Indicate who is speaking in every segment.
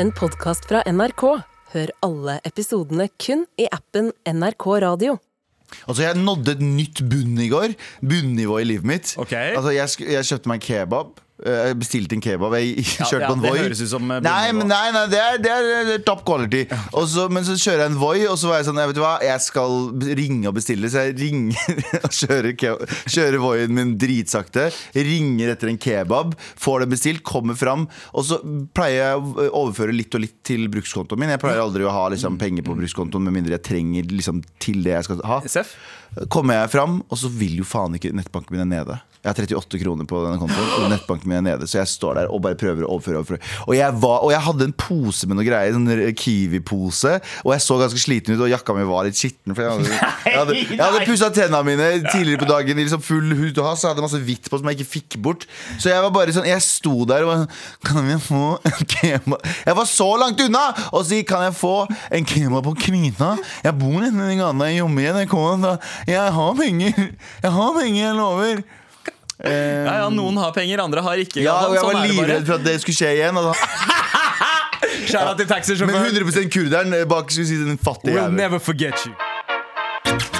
Speaker 1: en podkast fra NRK. Hør alle episodene kun i appen NRK Radio.
Speaker 2: Altså, jeg nådde et nytt bunn i går. Bunnivå i livet mitt.
Speaker 3: Ok.
Speaker 2: Altså, jeg, sk- jeg kjøpte meg en kebab. Eh, Jeg bestilte en kebab. Jeg kjørte
Speaker 3: ja,
Speaker 2: på en
Speaker 3: det
Speaker 2: Voi.
Speaker 3: høres ut som, eh,
Speaker 2: Nei,
Speaker 3: bunnivå.
Speaker 2: men nei, nei, det er, det er eh, top quality. Og så- men så kjører jeg en Voi, og så var jeg sånn jeg Vet du hva, jeg skal ringe og bestille, så jeg ringer og kjører, ke- kjører Voien min dritsakte. Ringer etter en kebab, får den bestilt, kommer fram. Og så pleier jeg å overføre litt og litt til brukskontoen min. Jeg pleier aldri å ha liksom, penger på brukskontoen med mindre jeg trenger liksom, til det jeg skal ha
Speaker 3: Seff?
Speaker 2: kommer jeg fram, og så vil jo faen ikke nettbanken min er nede. Jeg har 38 kroner på denne kontoen, og nettbanken min er nede. Så jeg står der og bare prøver å overføre. overføre. Og jeg, var, og jeg hadde en pose med noe greier, en sånn Kiwi-pose, og jeg så ganske sliten ut, og jakka mi var litt skitten. For jeg hadde, jeg hadde, jeg hadde pussa tenna mine tidligere på dagen i liksom full hud og hast, så jeg hadde masse hvitt på som jeg ikke fikk bort. Så jeg var bare sånn, jeg sto der og var sånn Kan jeg få en kebab? Jeg var så langt unna! Og så kan jeg få en kebab på Kvina? Jeg bor nede i den gata jeg jobber i NRK. da. Jeg har penger! Jeg har penger, jeg lover! Eh,
Speaker 3: Ja, ja, noen har penger, andre har ikke.
Speaker 2: ja, og jeg
Speaker 3: Sånn
Speaker 2: var
Speaker 3: er det bare.
Speaker 2: livredd for at det skulle skje igjen. Og da.
Speaker 3: Skjæra til
Speaker 2: Men
Speaker 3: taxisjåføren.
Speaker 2: 100 kurderen eh, bak skulle si den fattige
Speaker 3: We'll
Speaker 2: jævel.
Speaker 3: never forget you.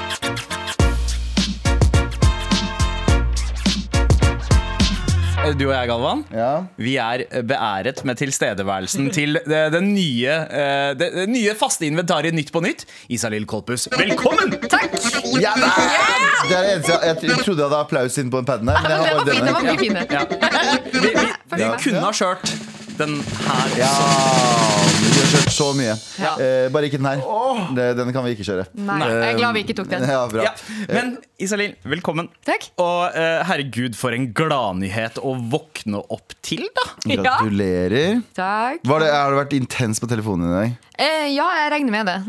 Speaker 3: Eh, Du og jeg, Galvan,
Speaker 2: Ja.
Speaker 3: vi er beæret med tilstedeværelsen til det, det nye, eh, det, det nye faste inventaret Nytt på nytt. Isalill Kolpus, velkommen!
Speaker 2: Ja, nei! det er det eneste jeg, jeg trodde jeg hadde applaus inn på den paden her. Men jeg
Speaker 4: Det
Speaker 2: har
Speaker 4: var
Speaker 2: bare
Speaker 4: fint, det
Speaker 2: denne.
Speaker 4: var mye fine.
Speaker 3: Ja. Vi, vi, vi
Speaker 2: Ja.
Speaker 3: kunne ha kjørt den her også.
Speaker 2: Ja, vi har kjørt så mye.
Speaker 3: Ja.
Speaker 2: Eh, bare ikke den her. Det- Den kan vi ikke kjøre. Eh,
Speaker 4: Nei, jeg er glad vi ikke tok den.
Speaker 2: Ja, bra.
Speaker 3: Ja. Men Isalill, velkommen.
Speaker 4: Takk.
Speaker 3: Og eh, herregud, for en gladnyhet å våkne opp til, da.
Speaker 4: Ja.
Speaker 2: Gratulerer.
Speaker 4: Takk.
Speaker 2: Var det, har du vært intens på telefonen i dag?
Speaker 4: Eh, ja, jeg regner med det.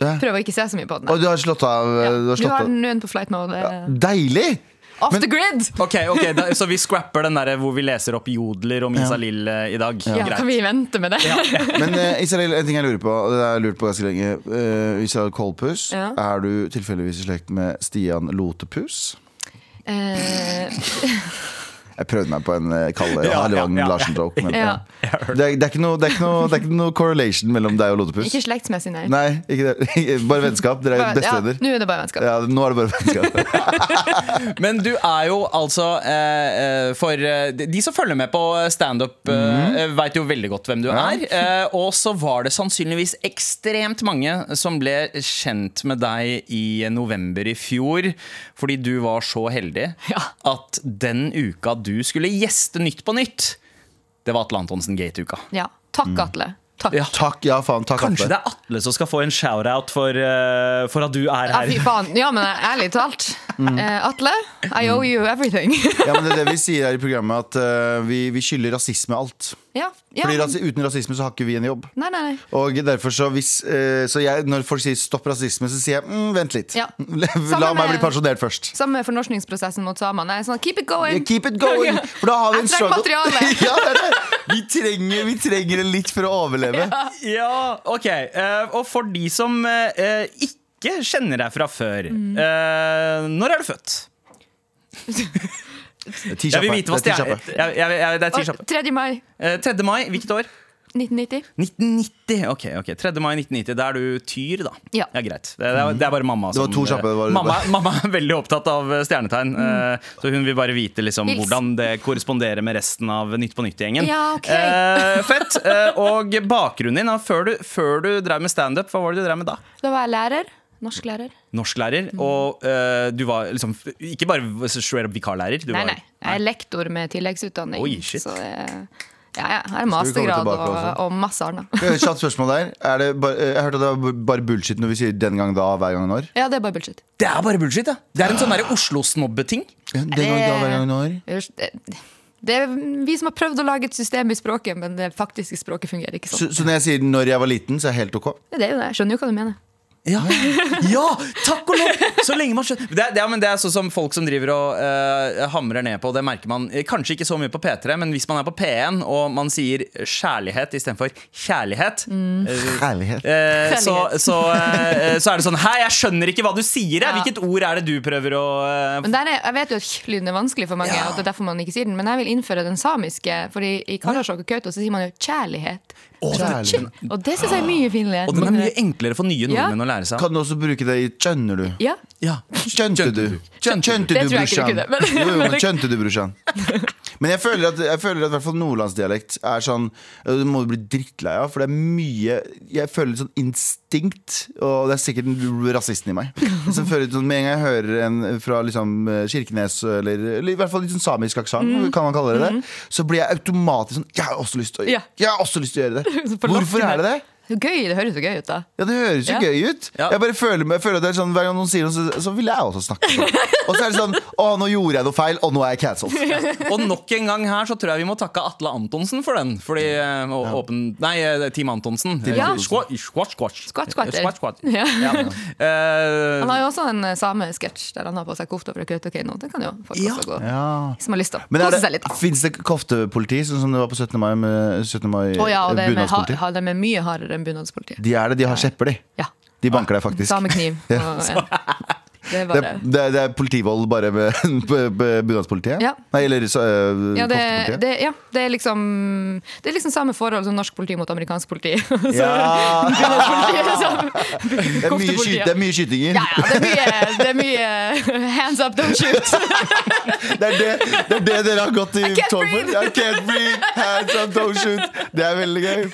Speaker 4: Jeg prøver å ikke se så mye på den.
Speaker 2: Og du har slått av? eh, Du
Speaker 4: Ja.
Speaker 2: har
Speaker 4: Du
Speaker 2: slått
Speaker 4: har
Speaker 2: av.
Speaker 4: den på flight mode. eh,
Speaker 2: Deilig!
Speaker 4: Off the grid!
Speaker 3: Ok, ok, da, Så vi scrapper den der hvor vi leser opp jodler om Isalill eh, i dag.
Speaker 4: Ja,
Speaker 3: Greit.
Speaker 4: kan vi vente med det?
Speaker 2: Men eh, Israel, en ting jeg lurer på, og det har jeg lurt på ganske lenge. Eh, Israel Kolpus,
Speaker 4: Ja.
Speaker 2: er du tilfeldigvis i slekt med Stian Lotepus?
Speaker 4: Eh,
Speaker 2: Jeg prøvde meg på en eh, Kalle
Speaker 3: Ja,
Speaker 2: Hallevang
Speaker 3: ja, ja.
Speaker 2: Larsen-joke. men,
Speaker 4: Ja.
Speaker 2: ja. Det, er- det, er ikke noe- det er ikke noe- det er ikke noe correlation mellom deg og Lotepus?
Speaker 4: ikke slektsmessig, nei.
Speaker 2: Nei, ikke det. Bare vennskap. Dere
Speaker 4: Bare-
Speaker 2: er bestevenner.
Speaker 4: Ja, nå er det bare vennskap.
Speaker 2: Ja, nå er det bare vennskap.
Speaker 3: Men du er jo altså eh, eh, For eh, de de som følger med på standup, eh,
Speaker 5: Mhm.
Speaker 3: eh, veit jo veldig godt hvem du
Speaker 2: Ja.
Speaker 3: er. Eh, og så var det sannsynligvis ekstremt mange som ble kjent med deg i november i fjor. Fordi du var så heldig
Speaker 4: Ja.
Speaker 3: at den uka du skulle gjeste Nytt på Nytt, det var Atle Antonsen Gate-uka.
Speaker 4: Ja. Takk, Atle. Takk.
Speaker 3: Ja.
Speaker 2: Takk, Mm. ja faen. Takk,
Speaker 5: Kanskje
Speaker 2: Atle.
Speaker 5: det er Atle som skal få en shout-out for, eh, for at du er
Speaker 4: Ja,
Speaker 5: her.
Speaker 4: fy faen. Ja, men ærlig talt.
Speaker 2: Mm.
Speaker 4: Eh, Atle, I owe you everything.
Speaker 2: Ja, men det er det vi sier her i programmet, at eh, vi, vi skylder rasisme alt.
Speaker 4: ja, ja,
Speaker 2: Fordi altså-
Speaker 4: men-
Speaker 2: rasi uten rasisme så har ikke vi en jobb.
Speaker 4: Nei, nei, nei.
Speaker 2: Og derfor så hvis eh, Så jeg, når folk sier 'stopp rasisme', så sier jeg mm, 'vent litt'.
Speaker 4: Ja.
Speaker 2: La
Speaker 4: Sammen
Speaker 2: meg bli
Speaker 4: med-
Speaker 2: pensjonert først.
Speaker 4: Samme fornorskningsprosessen mot samene. Nei, Sånn, keep it going!
Speaker 2: Keep it going! For da har vi
Speaker 4: Jeg
Speaker 2: en
Speaker 4: trenger
Speaker 2: struggle.
Speaker 4: materiale.
Speaker 2: ja, det er det. Vi, trenger, vi trenger det litt for å overleve.
Speaker 3: Ja, ok. Eh, og for de som eh, eh, ikke kjenner deg fra før, eh, når er du født? Jeg vil vite hva
Speaker 2: Det er
Speaker 3: stjerne...
Speaker 2: ti kjappe.
Speaker 3: Jeg, jeg, jeg, det er ti
Speaker 4: Og
Speaker 3: kjappe.
Speaker 4: 3. mai
Speaker 3: Eh, 3. mai, hvilket år?
Speaker 4: 1990.
Speaker 3: 1990. Ok, ok, 3. mai 1990. Da er du tyr, da.
Speaker 4: Ja.
Speaker 3: greit. Det, det, er, det er bare mamma
Speaker 2: Det var
Speaker 3: som
Speaker 2: to kjappe, det var-
Speaker 3: mamma, mamma er veldig opptatt av eh, stjernetegn. eh,
Speaker 4: Mm.
Speaker 3: så hun vil bare vite liksom,
Speaker 4: Hils.
Speaker 3: hvordan det korresponderer med resten av Nytt på nytt-gjengen.
Speaker 4: Ja, ok.
Speaker 3: Eh, fett. Eh, og bakgrunnen din, da, før, du, før du drev med standup, hva var det du drev med da?
Speaker 4: Da var jeg lærer. Norsklærer.
Speaker 3: Norsklærer.
Speaker 4: Mhm.
Speaker 3: Og eh, du var liksom ikke bare straight up vikarlærer. Du
Speaker 4: Nei,
Speaker 3: var,
Speaker 4: nei. Jeg er lektor med tilleggsutdanning.
Speaker 3: Oi, shit.
Speaker 4: Så jeg, ja, ja, jeg
Speaker 2: vi
Speaker 4: har
Speaker 2: komme
Speaker 4: mastergrad
Speaker 2: tilbake
Speaker 4: og,
Speaker 2: også?
Speaker 4: og masse annet.
Speaker 2: Kjapt spørsmål der. Er det bare, jeg hørte at det var bare bullshit når vi sier 'den gang da', 'hver gang når'.
Speaker 4: Ja, det er bare bullshit.
Speaker 3: Det er bare bullshit, ja. Det er en sånn derre Oslo-snobbeting.
Speaker 2: Den gang da, hver gang når.
Speaker 4: Det det er vi som har prøvd å lage et system i språket, men det faktiske språket fungerer ikke
Speaker 2: Så,
Speaker 4: sånn.
Speaker 2: så når jeg sier 'når jeg var liten', så er det helt ok?
Speaker 4: Det er jo det. Jeg skjønner jo hva du mener.
Speaker 3: Ja, Ah. ja takk og lov! Så lenge man skjønner det, er- det, er- men det er sånn som folk som driver og eh, hamrer ned på, det merker man eh, kanskje ikke så mye på P3, men hvis man er på P1 og man sier kjærlighet istedenfor kjærlighet, eh,
Speaker 2: Herlighet.
Speaker 3: eh, så,
Speaker 4: Mm. Kjærlighet.
Speaker 3: så, eh, så er det sånn Hei, jeg skjønner ikke hva du sier! jeg.
Speaker 4: Ja.
Speaker 3: Hvilket ord er det du prøver å eh,
Speaker 4: Men der er, jeg vet jo at kj-lyden er vanskelig for mange, og det er derfor man ikke sier den, men jeg vil innføre den samiske. Fordi i Karasjok og Kautokeino så sier man jo kjærlighet.
Speaker 2: Kjærlighet.
Speaker 4: Og det syns jeg er mye finere.
Speaker 3: Og den er mye enklere for nye
Speaker 4: Ja.
Speaker 3: nordmenn å lære seg.
Speaker 2: Kan du også bruke det i 'kjønner du'?
Speaker 4: Ja.
Speaker 3: Ja.
Speaker 2: Skjønte du? Skjønte du,
Speaker 4: Det tror jeg ikke du
Speaker 2: brorsan?
Speaker 4: kunne, men-
Speaker 2: Jo, jo, men
Speaker 4: men-
Speaker 2: skjønte du, brorsan? Men jeg føler at, jeg føler at i hvert fall nordlandsdialekt er sånn Du må du bli drittlei av, for det er mye Jeg føler et sånn instinkt, og det er sikkert den rasisten i meg. Som føler sånn, Med en gang jeg hører en fra liksom, Kirkenes, eller, eller i hvert fall litt sånn samisk aksent,
Speaker 4: Mm.
Speaker 2: kan man kalle det det, så blir jeg automatisk sånn Jeg har også lyst til å,
Speaker 4: Ja.
Speaker 2: jeg har også lyst til å gjøre det.
Speaker 4: Så forlatt
Speaker 2: Hvorfor
Speaker 4: i
Speaker 2: er det det?
Speaker 4: Så Gøy, det høres jo gøy ut, da.
Speaker 2: Ja, det høres jo
Speaker 4: Ja.
Speaker 2: gøy ut.
Speaker 3: Ja.
Speaker 2: Jeg bare føler, meg- jeg føler at det er sånn, Hver gang noen sier noe, så, så vil jeg også snakke sånn. Og så er det sånn Å, nå gjorde jeg noe feil, og nå er jeg cancelled.
Speaker 3: Og nok en gang her så tror jeg vi må takke Atle Antonsen for den. Fordi eh, å- åpen, Nei, eh, Team Antonsen. Eh,
Speaker 4: Ja.
Speaker 3: Squat, squat, squat.
Speaker 4: Squat, squatter.
Speaker 3: Eh, Squat, squat.
Speaker 4: Ja.
Speaker 3: Ja. Eh,
Speaker 4: Han har jo også en eh, samesketsj der han har på seg kofta fra Kautokeino. Det kan jo folk
Speaker 3: Ja.
Speaker 4: også gå
Speaker 2: Ja.
Speaker 4: Som har lyst til å
Speaker 2: Men er
Speaker 4: kose
Speaker 2: det,
Speaker 4: seg litt. Å
Speaker 2: finnes det koftepoliti, sånn som det var på 17. mai? Med 17. mai
Speaker 4: ja, og
Speaker 2: eh,
Speaker 4: det er med, ha,
Speaker 2: bunadspoliti?
Speaker 4: ha, de er mye hardere enn bunadspolitiet.
Speaker 2: De er det. De har skjepper, de.
Speaker 4: Ja.
Speaker 2: De banker deg faktisk.
Speaker 4: Samekniv.
Speaker 2: Ja.
Speaker 4: og, ja. Det er
Speaker 2: Det,
Speaker 4: bare
Speaker 2: det, det er politivold bare med med- med bunadspolitiet?
Speaker 4: Ja.
Speaker 2: Nei, eller så, eh,
Speaker 4: ja det,
Speaker 2: koftepolitiet?
Speaker 4: det, ja, det er liksom Det er liksom samme forhold som norsk politi mot amerikansk politi. Så
Speaker 2: Ja.
Speaker 4: bunadspolitiet er sånn.
Speaker 2: Det er mye
Speaker 4: koftepolitiet.
Speaker 2: skyt- det er mye skytinger.
Speaker 4: Ja, ja, det er mye, det er mye hands up, don't shoot.
Speaker 2: Det er det, det er det dere har gått i
Speaker 4: I can't
Speaker 2: tog for.
Speaker 4: breathe.
Speaker 2: I can't breathe. Hands up, don't shoot. Det er veldig gøy.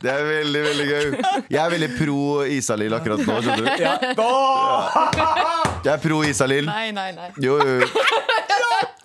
Speaker 2: Det er veldig, veldig gøy. Jeg er veldig pro Isalill akkurat nå, skjønner du. Jeg er pro Isalill.
Speaker 4: Nei, nei, nei.
Speaker 2: Jo, jo, jo.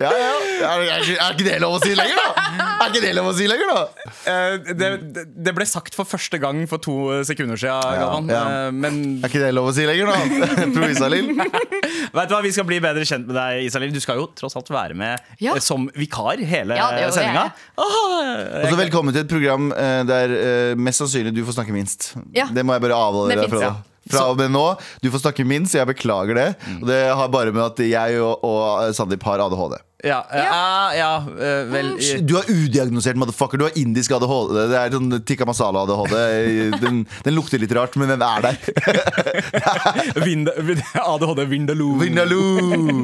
Speaker 2: Ja, ja. Er, er, er ikke det lov å si lenger, da? Er ikke det lov å si lenger, da?
Speaker 3: eh, det, det- det ble sagt for første gang for to eh, sekunder siden, Galvan.
Speaker 2: ja.
Speaker 3: Eh, Men
Speaker 2: Er ikke det lov å si lenger, da? Pro Isalill.
Speaker 3: vet du hva, vi skal bli bedre kjent med deg, Isalill. Du skal jo tross alt være med
Speaker 4: Ja.
Speaker 3: eh, som vikar hele
Speaker 4: Ja, det er jo det jeg
Speaker 3: sendinga.
Speaker 4: er.
Speaker 2: Og så velkommen til et program eh, der eh, mest sannsynlig du får snakke minst.
Speaker 4: Ja.
Speaker 2: Det må jeg bare avholde
Speaker 4: Det
Speaker 2: deg
Speaker 4: finnes,
Speaker 2: fra.
Speaker 4: ja.
Speaker 2: Fra og med nå, Du får snakke minst, jeg beklager det.
Speaker 4: Mm.
Speaker 2: Og det har bare med at jeg og, og eh, Sandeep har ADHD.
Speaker 3: Ja, eh, ah, ja, eh, vel
Speaker 4: Mm.
Speaker 3: eh,
Speaker 2: Du har udiagnosert motherfucker. Du har indisk ADHD. Det er sånn tikka masala-ADHD. Den, den lukter litt rart, men den er der.
Speaker 3: eh, vind, vind, ADHD Vindaloo.
Speaker 2: Vindaloo!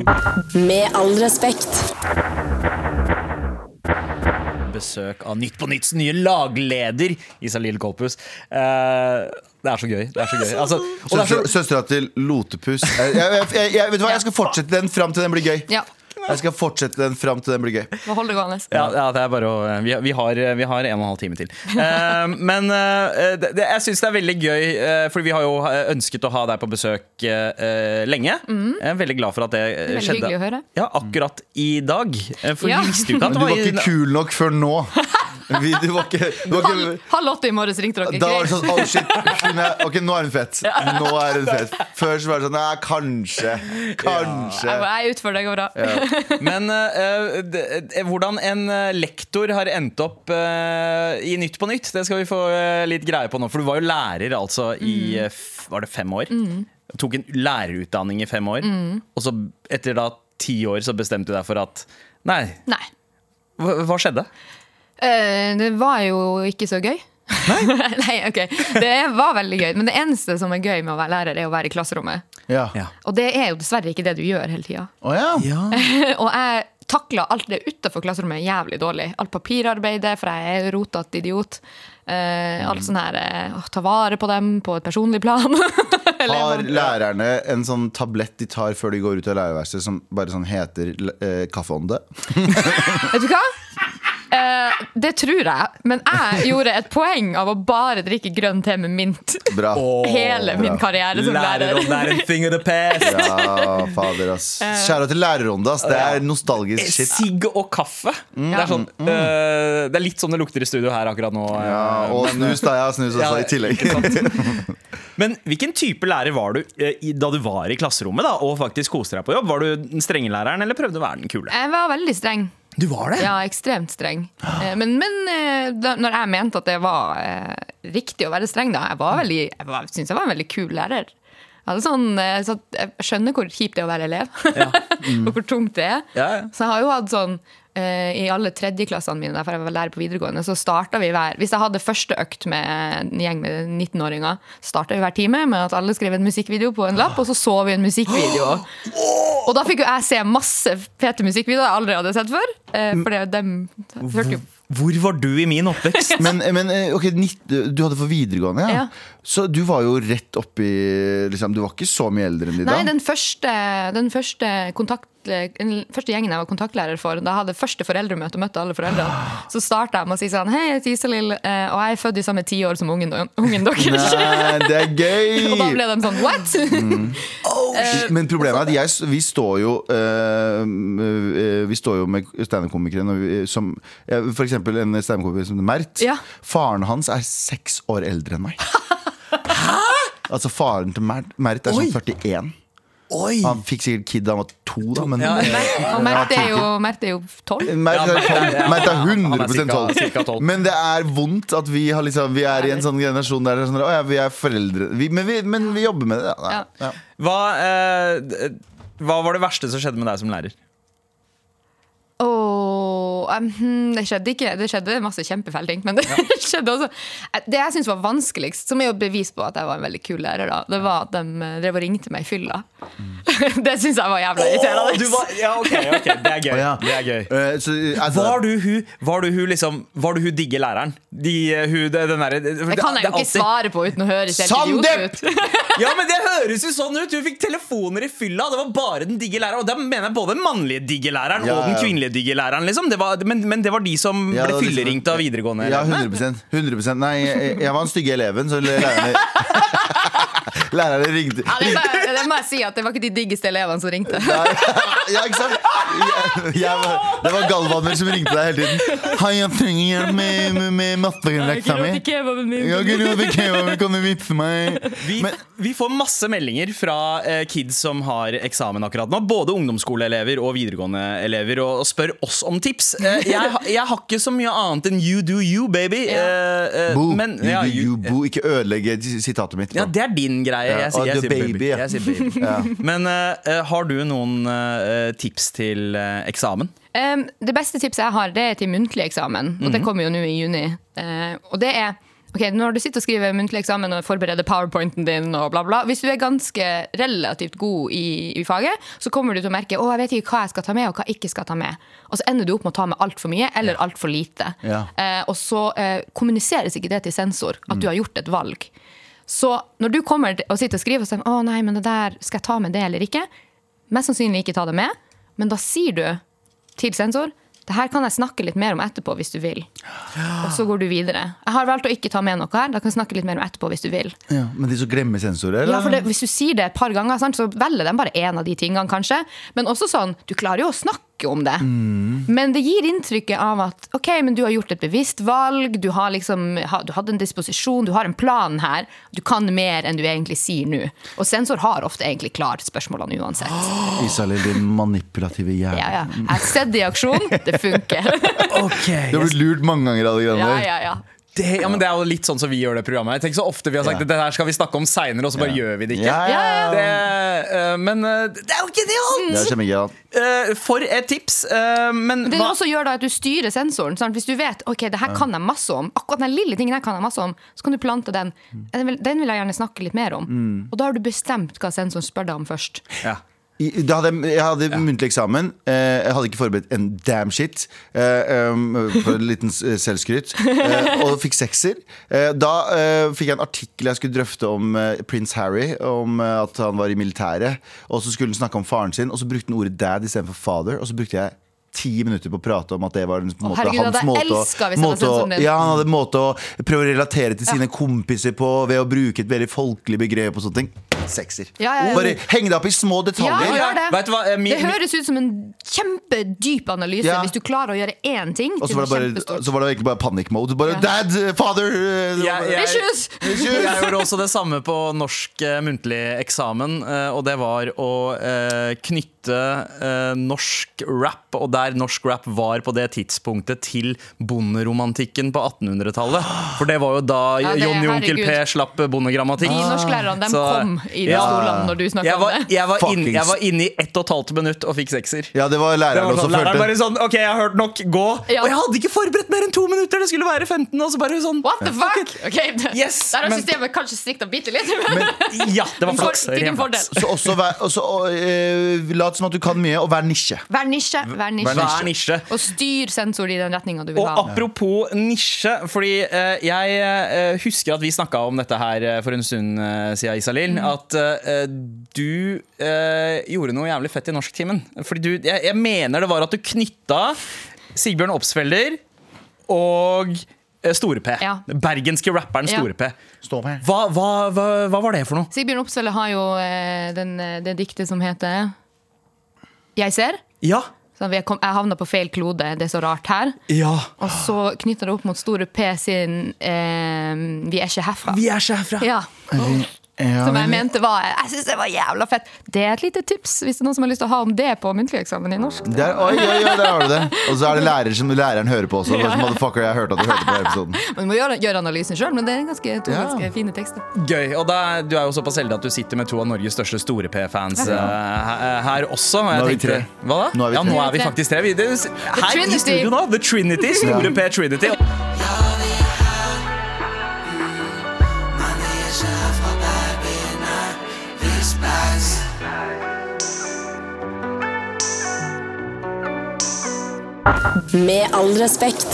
Speaker 1: Med all respekt.
Speaker 3: besøk av Nytt på Nytts nye lagleder, Isalill Kolpus. Eh, det er så gøy. Det er så gøy. Altså, og det er så,
Speaker 2: Søstera til Lotepus. Jeg, jeg, jeg, jeg, vet du hva, jeg skal fortsette den fram til den blir gøy.
Speaker 4: Ja,
Speaker 2: Jeg skal fortsette den fram til den blir gøy.
Speaker 4: må holde det gående.
Speaker 3: ja, ja, det er bare å eh, vi, vi, har, vi har en og en halv time til. Eh, men eh, det, det- jeg syns det er veldig gøy, eh, for vi har jo eh, ønsket å ha deg på besøk eh, eh, lenge. Jeg er veldig glad for at det eh,
Speaker 4: Mhm. Veldig
Speaker 3: skjedde.
Speaker 4: hyggelig å høre.
Speaker 3: Ja, akkurat i dag. Eh, For
Speaker 4: Ja.
Speaker 3: vi visste jo ikke
Speaker 2: Men
Speaker 3: at det
Speaker 2: du
Speaker 3: var,
Speaker 2: var ikke kul nok før nå. Vi, du var ikke, du var
Speaker 4: Halv,
Speaker 2: ikke
Speaker 4: halv åtte i morges ringte dere.
Speaker 2: da var det
Speaker 4: Greit.
Speaker 2: sånn oh shit, hun er- Ok, nå er hun fett. Nå er hun fett Før så var det sånn Nei, kanskje. Kanskje.
Speaker 4: Jeg er utfor, det går bra.
Speaker 3: Men eh, d- eh, hvordan en eh, lektor har endt opp eh, i Nytt på Nytt, det skal vi få eh, litt greie på nå. For du var jo lærer altså i eh, f- var det fem år. Tok en lærerutdanning i fem år. Og så etter da ti år så bestemte du deg for at Nei,
Speaker 4: Nei.
Speaker 3: hva, hva skjedde?
Speaker 4: Eh, Det var jo ikke så gøy. Nei? ok. Det var veldig gøy. Men det eneste som er gøy med å være lærer, er å være i klasserommet.
Speaker 2: Ja.
Speaker 3: Ja.
Speaker 4: Og det er jo dessverre ikke det du gjør hele tida.
Speaker 2: Å ja.
Speaker 4: Og jeg takla alt det utafor klasserommet jævlig dårlig. Alt papirarbeidet, for jeg er rotete idiot. Eh, alt sånn her eh, å, ta vare på dem på et personlig plan.
Speaker 2: Har
Speaker 4: Elevene.
Speaker 2: lærerne en sånn tablett de tar før de går ut av lærerverkstedet, som bare sånn heter eh, kaffeånde?
Speaker 4: Vet du hva? Eh, det tror jeg, men jeg gjorde et poeng av å bare drikke grønn te med mint
Speaker 2: Bra.
Speaker 4: hele min karriere som liksom lærer.
Speaker 3: Lærerånden er en thing of the past.
Speaker 2: Ja, fader, ass.
Speaker 3: Eh.
Speaker 2: Kjære til lærerånde, ass. Det er nostalgisk shit. Mm.
Speaker 3: Sigg og kaffe. Det, er sånn, eh, det er litt sånn det lukter i studio her akkurat nå. eh,
Speaker 2: Ja, og snus, da. Jeg har snus også,
Speaker 3: Ja,
Speaker 2: i tillegg.
Speaker 3: ikke sant?
Speaker 6: Men hvilken type lærer var du eh, i- da du var i klasserommet da, og faktisk koste deg på jobb? Var du den strenge læreren, eller prøvde du å være den kule?
Speaker 4: Jeg var veldig streng.
Speaker 3: Du var det?
Speaker 4: Ja, ekstremt streng. Eh, Men, men eh, da, når jeg mente at det var eh, riktig å være streng, da Jeg, var veldig- jeg var- syntes jeg var en veldig kul lærer. Ja, det er sånn, eh, så at jeg skjønner hvor kjipt det er å være elev, og hvor tungt det er.
Speaker 3: Ja, ja.
Speaker 4: Så jeg har jo hatt sånn eh, I alle tredjeklassene mine, derfor jeg var lærer på videregående, så starta vi hver Hvis jeg hadde første økt med en gjeng med 19-åringer, starta vi hver time med at alle skrev en musikkvideo på en lapp, og så så vi en musikkvideo. Og da fikk jo jeg se masse fete musikkvideoer jeg aldri hadde sett før. eh, For det, dem hørte jo
Speaker 3: Hvor var du i min oppvekst?
Speaker 2: Men, men eh, ok, nitt- du hadde for videregående, ja.
Speaker 4: Ja.
Speaker 2: Så du var jo rett oppi liksom, Du var ikke så mye eldre enn de
Speaker 4: Nei,
Speaker 2: da?
Speaker 4: den første, den første kontakt eh, den første gjengen jeg var kontaktlærer for, da jeg hadde første foreldremøte og møtte alle foreldrene, så starta jeg med å si sånn Hei, jeg heter Isalill, eh, og jeg er født i samme tiår som ungen, ungen deres.
Speaker 2: Nei, det er
Speaker 4: Og da
Speaker 2: gøy!
Speaker 4: ble eh, de sånn What?!
Speaker 2: Men problemet er at jeg, s- vi står jo eh, eh, Vi står jo med standup-komikere når vi- som eh, For eksempel en standup-komiker som heter Mert.
Speaker 4: Ja.
Speaker 2: Faren hans er seks år eldre enn meg. Hæ?! Altså Faren til Mert, Mert er sånn 41.
Speaker 3: Oi!
Speaker 2: Han fikk sikkert kid da han var to, da. Men
Speaker 3: Ja, ja,
Speaker 4: Og Mert er jo, Mert er jo 12.
Speaker 2: Mert er, tolv. Mert er
Speaker 3: Han er
Speaker 2: 100
Speaker 3: cirka- cirka
Speaker 2: tolv.
Speaker 3: tolv.
Speaker 2: Men det er vondt at vi, har liksom, vi er i en sånn generasjon der det er sånn, «Å ja, vi er foreldre. Vi, men, vi, men vi jobber med det. da.
Speaker 4: Ja.
Speaker 2: Ja.
Speaker 3: Hva, eh, d- hva var det verste som skjedde med deg som lærer?
Speaker 4: Åh, em, hm, det skjedde ikke. Det skjedde masse kjempefæle ting, men det skjedde også. Eh, Det jeg syns var vanskeligst, som er jo et bevis på at jeg var en veldig kul lærer, da, det var at de eh, drev og ringte meg i fylla. det syns jeg var jævla irriterende.
Speaker 3: Du var, ja, ok, ok, det er gøy.
Speaker 2: ja.
Speaker 3: Det er gøy.
Speaker 2: Eh, så, altså,
Speaker 3: Var du hun, var du hun liksom Var du hun digge læreren? De, eh, hun, det, den der, det,
Speaker 4: Det kan jeg jo ikke svare på uten å høres helt
Speaker 2: Sandep!
Speaker 4: idiot ut.
Speaker 3: Ja, men Det høres jo sånn ut! Hun fikk telefoner i fylla. Det var bare den digge læreren. Og da mener jeg både den mannlige digge læreren
Speaker 2: Ja,
Speaker 3: og den
Speaker 2: ja.
Speaker 3: kvinnelige digge læreren. Liksom. Det var, men, men det var de som
Speaker 2: Ja, det
Speaker 3: ble
Speaker 2: var liksom-
Speaker 3: fylleringt av videregående.
Speaker 2: ja, 100, 100 Nei, jeg, jeg var den stygge eleven, så lærerne Lærerne ringte.
Speaker 4: Ja, det, må, det må jeg si at det var ikke de diggeste elevene som ringte.
Speaker 2: Nei, ja, ikke sant? Jeg, jeg, var- det var Galvaner som ringte deg hele tiden. Hei, jeg trenger hjelp med, med, med matteleksa mi. Jeg kunne jo ikke hjelpe, Kan du vipse meg?
Speaker 3: Vi, vi får masse meldinger fra eh, kids som har eksamen akkurat nå. Både ungdomsskoleelever og videregående elever. Og, og spør oss om tips. Eh, jeg, ha- jeg har ikke så mye annet enn you do you, baby. Eh, eh,
Speaker 2: Bo,
Speaker 3: men-
Speaker 2: you,
Speaker 3: ja,
Speaker 2: do you,
Speaker 3: you-
Speaker 2: bo. Ikke ødelegge sitatet mitt.
Speaker 3: ja,
Speaker 2: nå.
Speaker 3: det er din greie.
Speaker 2: Ja,
Speaker 3: Jeg, sier-
Speaker 2: og the
Speaker 3: jeg, sier baby.
Speaker 2: baby, ja.
Speaker 3: jeg sier baby. Men eh, eh, har du noen eh, tips til eh, eksamen?
Speaker 4: Um, det beste tipset jeg har, det er til muntlig eksamen. Og det kommer jo nå i juni. Eh, og det er Ok, Når du sitter og skriver muntlig eksamen og forbereder powerpointen din, og bla bla, hvis du er ganske relativt god i, i faget, så kommer du til å merke å, jeg vet ikke hva jeg skal ta med og hva jeg ikke skal ta med. Og så ender du opp med å ta med altfor mye eller altfor lite.
Speaker 2: Ja.
Speaker 4: Eh, og så eh, kommuniseres ikke det til sensor, at du har gjort et valg. Så når du kommer til- og sitter og skriver og sier å nei, men det der, skal jeg ta med det eller ikke? Mest sannsynlig ikke ta det med, men da sier du til sensor det her kan jeg snakke litt mer om etterpå hvis du vil. Og så går du videre. Jeg har valgt å ikke ta med noe her, da kan jeg snakke litt mer om etterpå hvis du vil.
Speaker 2: Ja, men de som glemmer sensorer, eller?
Speaker 4: Ja, for det, Hvis du sier det et par ganger, sant, så velger de bare én av de tingene, kanskje. Men også sånn, du klarer jo å snakke om det. Men det gir inntrykket av at ok, men du har gjort et bevisst valg, du har liksom, ha- du hadde en disposisjon, du har en plan her. Du kan mer enn du egentlig sier nå. Og sensor har ofte egentlig klart spørsmålene uansett.
Speaker 2: Isalill, din manipulative hjerne.
Speaker 4: Ja, ja. Jeg har sett det i aksjon, det funker.
Speaker 2: Du har blitt lurt mange ganger av de greiene
Speaker 4: Ja,
Speaker 2: der.
Speaker 4: ja, ja.
Speaker 3: Det, ja, men det er jo litt sånn som vi gjør det programmet. Tenk så ofte vi har sagt
Speaker 2: Ja.
Speaker 3: at det her skal vi snakke om seinere, og så bare gjør vi det ikke.
Speaker 2: Ja, ja, ja.
Speaker 3: Det, eh, men eh, det er jo ikke det alt!
Speaker 2: Det er kjempegøy. da.
Speaker 3: Eh, for et tips. eh, men
Speaker 4: Det
Speaker 3: hva-
Speaker 4: også gjør da at du styrer sensoren. Sant? Hvis du vet ok, det her kan jeg masse om, akkurat den lille tingen her kan jeg masse om, så kan du plante den. Den vil, den vil jeg gjerne snakke litt mer om.
Speaker 3: Mm.
Speaker 4: Og da har du bestemt hva sensoren spør deg om først.
Speaker 3: ja.
Speaker 2: I- Da hadde jeg, jeg hadde muntlig eksamen. Eh, jeg hadde ikke forberedt en damn shit. Eh, um, for en liten s- selvskryt. Eh, og fikk sekser. Eh, da eh, fikk jeg en artikkel jeg skulle drøfte om eh, prins Harry. Om eh, at han var i militæret. Og så skulle han snakke om faren sin, og så brukte han ordet dad istedenfor father. Og så brukte jeg ti minutter på å prate om at det var en måte, hans
Speaker 4: herregud, hadde jeg
Speaker 2: måte, å-
Speaker 4: elsket hvis jeg hadde
Speaker 2: måte å-
Speaker 4: sett sånn din.
Speaker 2: ja, Han hadde en måte å prøve å relatere til sine kompiser på ved å bruke et veldig folkelig begrep og sånne ting. Sekser.
Speaker 4: Ja, ja, ja.
Speaker 2: Bare heng deg opp i små
Speaker 4: Ja,
Speaker 2: detaljer.
Speaker 4: gjør det.
Speaker 3: Vet du hva, eh, min-
Speaker 4: det høres ut som en kjempedyp analyse
Speaker 2: Ja.
Speaker 4: hvis du klarer å gjøre én ting
Speaker 2: Og så
Speaker 4: til
Speaker 2: var
Speaker 4: noe
Speaker 2: det, bare,
Speaker 4: kjempestort.
Speaker 2: så var det egentlig bare panic mode. Bare dad, father eh,
Speaker 3: Ja, ja.
Speaker 4: Issues!
Speaker 2: Issues!
Speaker 3: Jeg gjorde også det samme på norsk eh, muntlig eksamen, eh, og det var å eh, knytte knytte eh, norsk rap, og der norsk rap var på det tidspunktet, til bonderomantikken på 1800-tallet. For det var jo da
Speaker 4: Ja, det-
Speaker 3: Johnny Onkel P
Speaker 4: herregud.
Speaker 3: slapp
Speaker 4: De
Speaker 3: bondegrammatikk.
Speaker 4: norsklærerne de
Speaker 3: Ah, Så-
Speaker 4: kom i de
Speaker 3: Ja.
Speaker 4: stolene når du snakka
Speaker 3: Jeg var,
Speaker 4: om det.
Speaker 3: jeg, var inn,
Speaker 2: Fuckings-
Speaker 3: jeg var inne i ett og et halvt minutt og fikk sekser.
Speaker 2: Ja, det var
Speaker 3: Det var
Speaker 2: læreren
Speaker 3: sånn,
Speaker 2: også
Speaker 3: læreren
Speaker 2: følte.
Speaker 3: bare sånn OK, jeg har hørt nok, gå.
Speaker 4: Ja.
Speaker 3: Og jeg hadde ikke forberedt mer enn to minutter! Det skulle være 15, og så bare sånn
Speaker 4: What the fuck? Ok, det-
Speaker 3: Yes,
Speaker 4: Der har
Speaker 3: men-
Speaker 4: systemet kanskje strikta bitte litt.
Speaker 3: Ja, det var
Speaker 4: Men for,
Speaker 3: flaks.
Speaker 4: til
Speaker 3: Ren
Speaker 4: din
Speaker 3: flaks.
Speaker 4: fordel.
Speaker 2: Så også vær, også, og, eh, lat som at du kan mye, og vær nisje.
Speaker 4: Vær nisje, vær nisje.
Speaker 3: Hver nisje.
Speaker 4: Og styr sensor i den retninga du vil
Speaker 3: Og
Speaker 4: ha.
Speaker 3: apropos nisje, fordi eh, jeg eh, husker at vi snakka om dette her eh, for en stund eh, siden, Isalill.
Speaker 4: Mm.
Speaker 3: At eh, du eh, gjorde noe jævlig fett i norsktimen. Fordi du jeg, jeg mener det var at du knytta Sigbjørn Opsfelder og eh, Store-P.
Speaker 4: Ja.
Speaker 3: Bergenske rapperen
Speaker 4: Ja.
Speaker 3: Store-P.
Speaker 2: Stå med.
Speaker 3: Hva, hva, hva, hva var det for noe?
Speaker 4: Sigbjørn Opsvelle har jo eh, den, eh, det diktet som heter Jeg ser.
Speaker 3: Ja.
Speaker 4: Så jeg, kom, jeg havna på feil klode, det er så rart her.
Speaker 3: Ja.
Speaker 4: Og så knytter det opp mot Store P sin eh, 'Vi er ikke herfra'.
Speaker 3: Vi er ikke herfra.
Speaker 4: Ja,
Speaker 2: Eh, Ja,
Speaker 4: Som jeg
Speaker 2: men,
Speaker 4: mente var Jeg syns det var jævla fett. Det er et lite tips hvis det er noen som har lyst til å ha om det på muntlig eksamen i norsk.
Speaker 2: der, oi, oi, oi, der har du det. Og så er det lærer som læreren hører på også. Bare, motherfucker, jeg hørte at du hørte på episoden.
Speaker 4: Man må gjøre, gjøre analysen sjøl, men det er ganske, to
Speaker 2: Ja.
Speaker 4: ganske fine tekster.
Speaker 3: Gøy. Og da, du er jo såpass heldig at du sitter med to av Norges største Store-P-fans eh, her, her også. Og jeg
Speaker 2: Nå er vi
Speaker 3: tenkte-
Speaker 2: tre.
Speaker 3: Hva da?
Speaker 2: Nå er vi
Speaker 3: ja,
Speaker 2: tre.
Speaker 3: nå er vi faktisk tre. Vi, det, her
Speaker 4: Trinity.
Speaker 3: i studio nå. The Trinity. Store-P Trinity.
Speaker 1: Med all respekt.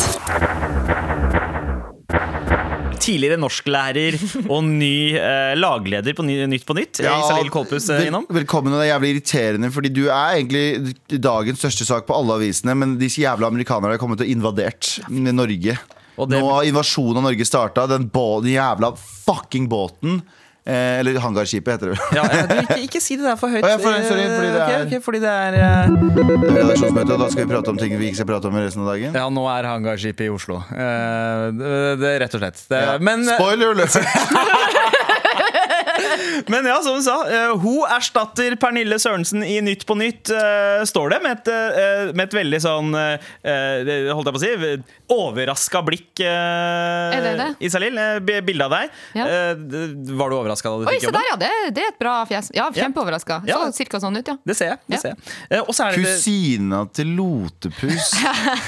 Speaker 3: Tidligere norsklærer og ny eh, lagleder på ny, Nytt på Nytt. Ja, Isalill Kolpus eh,
Speaker 2: vel-
Speaker 3: innom.
Speaker 2: Velkommen, og det er jævlig irriterende, fordi du er egentlig dagens største sak på alle avisene, men disse jævla amerikanerne har kommet og invadert Norge.
Speaker 3: Og det-
Speaker 2: Nå har invasjonen av Norge starta, den, bå- den jævla fucking båten. Eh, eller hangarskipet, heter det.
Speaker 3: Ja, ja, du, ikke, ikke si det der for høyt.
Speaker 2: Å, ja, for- sorry, fordi det
Speaker 3: Eh,
Speaker 2: er-
Speaker 3: ok, ok, fordi det er eh,
Speaker 2: Det er Redaksjonsmøte, og da skal vi prate om ting vi ikke skal prate om resten av dagen.
Speaker 3: Ja, nå er hangarskipet i Oslo. Eh, det, det, rett og slett. Det,
Speaker 2: Ja.
Speaker 3: Eh, Men
Speaker 2: Spoiler alert!
Speaker 3: Men ja, som hun sa, eh, hun erstatter Pernille Sørensen i Nytt på Nytt, eh, står det, med et, eh, med et veldig sånn eh, eh, Holdt jeg på å si overraska blikk.
Speaker 4: Er
Speaker 3: Er
Speaker 4: det det?
Speaker 3: Isalill, eh, bi- bilde av deg.
Speaker 4: Ja.
Speaker 3: Eh, d- Var du overraska da du
Speaker 4: Oi,
Speaker 3: fikk
Speaker 4: se
Speaker 3: jobben?
Speaker 4: der, ja! Det, det er et bra fjes. Ja,
Speaker 3: Ja.
Speaker 4: kjempeoverraska. Så
Speaker 3: Ja.
Speaker 4: cirka sånn ut, ja.
Speaker 3: Det ser jeg. det
Speaker 4: Ja.
Speaker 3: ser jeg Eh, Og så er det
Speaker 2: Kusina til Lotepus.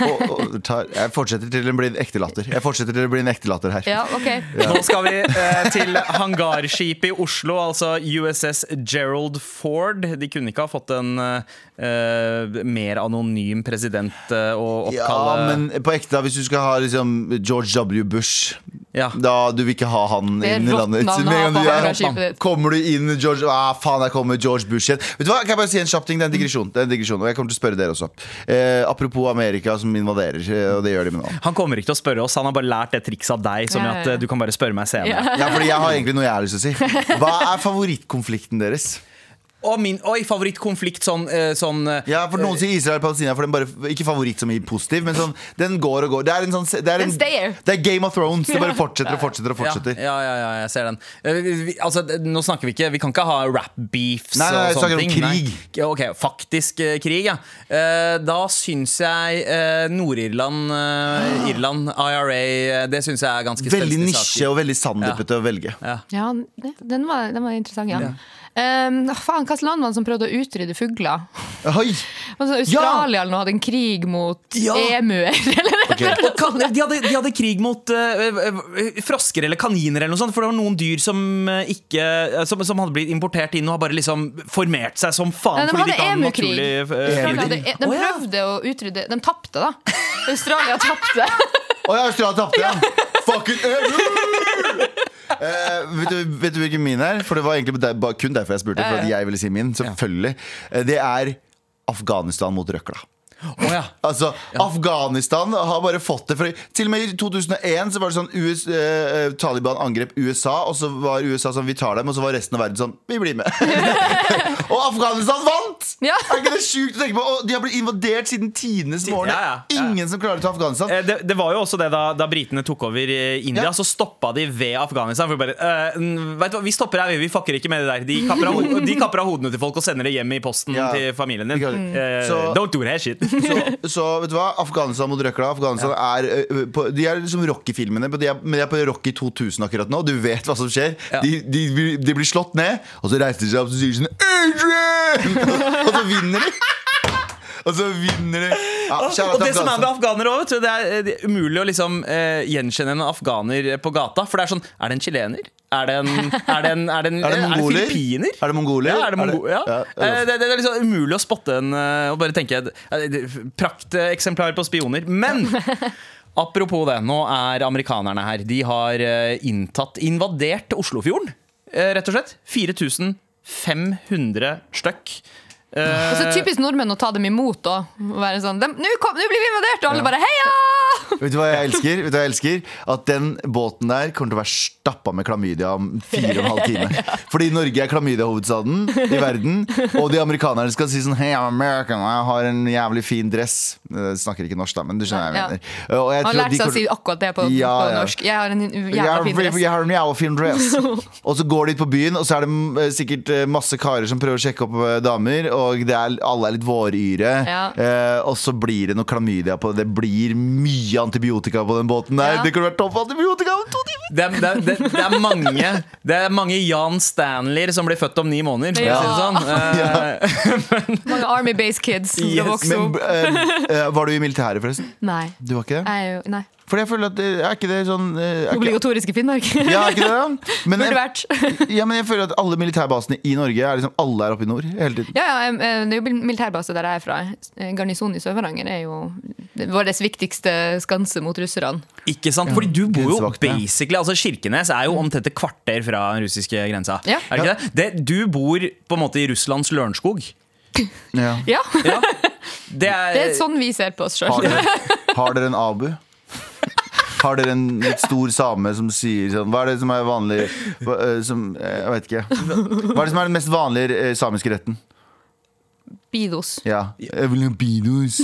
Speaker 2: Og, og, tar, jeg fortsetter til det blir en ekte latter. Jeg fortsetter til det blir en ekte latter her.
Speaker 4: Ja, ok
Speaker 3: Nå skal vi eh, til hangarskipet i Oslo, altså USS Gerald Ford. De kunne ikke ha fått en eh, mer anonym president eh, å
Speaker 2: Ja,
Speaker 3: oppkalle
Speaker 2: men på ekte, da, hvis du skal ha liksom George W. Bush
Speaker 3: Ja.
Speaker 2: Da Du vil ikke ha han
Speaker 4: Det er
Speaker 2: inn i
Speaker 4: rått
Speaker 2: landet.
Speaker 4: navn å
Speaker 2: Med en gang
Speaker 4: ha
Speaker 2: du
Speaker 4: på
Speaker 2: er-
Speaker 4: hangarskipet ditt.
Speaker 2: kommer du inn George ah, Faen, der kommer George Bush igjen. Vet du hva, Kan jeg bare si en kjapp ting? Det er en
Speaker 4: Mm.
Speaker 2: digresjon. Det er en digresjon og jeg kommer til å spørre dere også. Eh, apropos Amerika som invaderer, eh, og det gjør de med nå.
Speaker 3: Han kommer ikke til å spørre oss, han har bare lært det trikset av deg. Som
Speaker 4: Ja,
Speaker 3: at
Speaker 4: ja, ja.
Speaker 3: eh, du kan bare spørre meg senere
Speaker 2: Ja, fordi Jeg har egentlig noe jeg har lyst til å si. Hva er favorittkonflikten deres?
Speaker 3: Og min oi, favorittkonflikt sånn, eh, sånn eh,
Speaker 2: Ja, for Noen sier Israel-Palestina, for den bare, ikke favoritt som i positiv, men sånn, den går og går. Det er en sånn det er, en,
Speaker 4: Den stayer.
Speaker 2: det er Game of Thrones. Det bare fortsetter og fortsetter. og
Speaker 3: ja,
Speaker 2: fortsetter
Speaker 3: ja, ja, ja, jeg ser den. Eh, Vi, vi, altså, det- nå snakker vi ikke Vi kan ikke ha rap-beefs
Speaker 2: Nei, nei, jeg
Speaker 3: og
Speaker 2: snakker
Speaker 3: sånne
Speaker 2: om
Speaker 3: ting.
Speaker 2: krig.
Speaker 3: Nei. Ok, faktisk eh, krig, ja. Eh, da syns jeg eh, Nord-Irland, eh, Irland, IRA eh, Det syns jeg er ganske
Speaker 2: Ah. Veldig
Speaker 3: spenstig sak.
Speaker 2: nisje og veldig sandepete å velge.
Speaker 4: Ja, det- den var, den var interessant, ja. Um, faen, hvilket land var det som prøvde å utrydde fugler?
Speaker 2: Oi!
Speaker 4: Altså, Australia eller noe hadde en krig mot
Speaker 3: Ja.
Speaker 4: emuer. Eller?
Speaker 3: Og kan, de, hadde, de hadde krig mot eh, eh, frosker eller kaniner, eller noe sånt for det var noen dyr som, eh, ikke, eh, som, som hadde blitt importert inn og har bare liksom formert seg som faen.
Speaker 4: Nei, de
Speaker 3: fordi
Speaker 4: hadde
Speaker 3: ikke har noen
Speaker 4: emukrig.
Speaker 3: naturlig, eh, fiender.
Speaker 4: Australia hadde- De
Speaker 3: Å, ja.
Speaker 4: prøvde å utrydde De tapte, da. Australia tapte.
Speaker 2: Å ja, Australia tapte, ja! Fucking Eh, vet, du, vet du hvilken min er? For det var egentlig der, ba- kun derfor jeg spurte. For at jeg ville si min, selvfølgelig Eh, Det er Afghanistan mot røkla.
Speaker 7: Å ja.
Speaker 2: Altså, Afghanistan har bare fått det. For, til og med i 2001 så var det sånn US, eh, Taliban angrep USA, og så var USA sånn Vi tar dem, og så var resten av verden sånn Vi blir med. og Afghanistan vant!
Speaker 4: Ja.
Speaker 2: Er ikke det sjukt å tenke på? Og de har blitt invadert siden tidenes morgen.
Speaker 7: Ja, ja, ja.
Speaker 2: Ingen som klarer å ta Afghanistan.
Speaker 3: Eh, Det, det var jo også det da, da britene tok over eh, India,
Speaker 2: Ja.
Speaker 3: så stoppa de ved Afghanistan. For bare, eh, n- vet du hva, Vi stopper her, vi, vi fucker ikke med det der. De kapper, av, ho- de kapper av hodene til folk og sender det hjem i posten
Speaker 2: Ja.
Speaker 3: til familien din.
Speaker 2: De kan-
Speaker 7: mm.
Speaker 3: Eh,
Speaker 2: Så-
Speaker 3: don't do that shit.
Speaker 2: Så, så vet du hva? Afghanistan mot røkla. Afghanistan er ø, ø, på, De er liksom Rocky-filmene, men de er- men de er på Rocky 2000 akkurat nå. Du vet hva som skjer. De, de, blir- de blir slått ned, og så reiser de seg opp og sier de sånn Adrian! og så vinner de. Og så vinner de. Ja, kjære
Speaker 3: Ah, Og det som er med
Speaker 2: Afghanistan.
Speaker 3: afghanere òg, det er eh, det er umulig å liksom eh, gjenkjenne en afghaner på gata. For det er sånn Er det en chilener? Er det en Er det en, er det en,
Speaker 2: Er det
Speaker 3: eh,
Speaker 2: mongoler?
Speaker 3: filippiner?
Speaker 2: Er det mongoler?
Speaker 3: Ja, er det mongo ja.
Speaker 2: Ja, det
Speaker 3: Eh,
Speaker 2: er-
Speaker 3: det, det er liksom umulig å spotte en eh, og bare tenke eh, det- Prakteksemplar på spioner. Men apropos det, nå er amerikanerne her. De har eh, inntatt, invadert Oslofjorden, eh, rett og slett. 4500 støkk.
Speaker 2: Eh.
Speaker 4: Og så Altså, typisk nordmenn å ta dem imot da. og være sånn «Dem- Nå kom- nå blir vi invadert! Og alle bare heia!
Speaker 2: Vet du hva jeg elsker? Vet du hva jeg elsker? At den båten der kommer til å være stappa med klamydia om fire og en halv time. Fordi Norge er klamydia-hovedstaden i verden. Og de amerikanerne skal si sånn Hey, I'm American, og jeg har en jævlig fin dress. Eh, snakker ikke norsk, da, men du skjønner hva jeg
Speaker 4: Ja.
Speaker 2: mener. Og jeg
Speaker 4: Han
Speaker 2: tror at
Speaker 4: lærte
Speaker 2: de
Speaker 4: seg å si
Speaker 2: kommer-
Speaker 4: akkurat det på,
Speaker 2: Ja,
Speaker 4: på
Speaker 2: ja.
Speaker 4: norsk. Jeg har en
Speaker 2: jeg
Speaker 4: jævla
Speaker 2: har,
Speaker 4: fin dress.
Speaker 2: jeg har en jævla fin dress. Og så går de på byen, og så er det mm, eh, sikkert eh, masse karer som prøver å sjekke opp eh, damer, og det er, alle er litt våryre.
Speaker 4: Ja.
Speaker 2: Eh, og så blir det noe klamydia på det. Det blir mye antibiotika på den båten der.
Speaker 4: Ja.
Speaker 2: Det kunne vært topp antibiotika om to timer!
Speaker 3: Det er, det, er- det, det er mange Det er mange Jan Stanleyer som blir født om ni måneder. for å
Speaker 4: Ja.
Speaker 3: si det Sånn. Eh,
Speaker 4: Mange Army Base Kids som skal
Speaker 3: Yes,
Speaker 4: vokse
Speaker 2: Men,
Speaker 4: opp.
Speaker 2: eh, eh, var du i militæret, forresten?
Speaker 4: Nei.
Speaker 2: Du var ikke det?
Speaker 4: Jeg er jo, nei.
Speaker 2: For jeg føler at eh, Er ikke det sånn eh, er ikke,
Speaker 4: Obligatorisk i Finnmark.
Speaker 2: ja, er ikke det, da? Men
Speaker 4: Burde
Speaker 2: jeg,
Speaker 4: vært.
Speaker 2: ja, men jeg føler at alle militærbasene i Norge er liksom Alle er oppe i nord hele tiden.
Speaker 4: Ja, ja, em, eh, det er jo bil- militærbase der jeg er fra. Eh, Garnisonen i Sør-Varanger er jo vår viktigste skanse mot russerne.
Speaker 3: Eh, ikke sant? Fordi du bor jo
Speaker 2: Grensevakt, ja.
Speaker 3: basically Altså Kirkenes er jo omtrent et kvarter fra den russiske grensa.
Speaker 4: Ja.
Speaker 3: Er det ikke det? det? Du bor på en måte i Russlands Lørenskog.
Speaker 2: Ja.
Speaker 4: Ja,
Speaker 3: Ja. Det er,
Speaker 4: det er sånn vi ser på oss
Speaker 2: Har
Speaker 4: sjøl.
Speaker 2: dere, har dere en abu? Har dere en litt stor same som sier sånn Hva er det som er vanlig hva, eh, som, eh, Jeg vet ikke. Hva er det som er den mest vanlige eh, samiske retten?
Speaker 4: Bidos.
Speaker 2: Ja. Jeg vil ha bidos.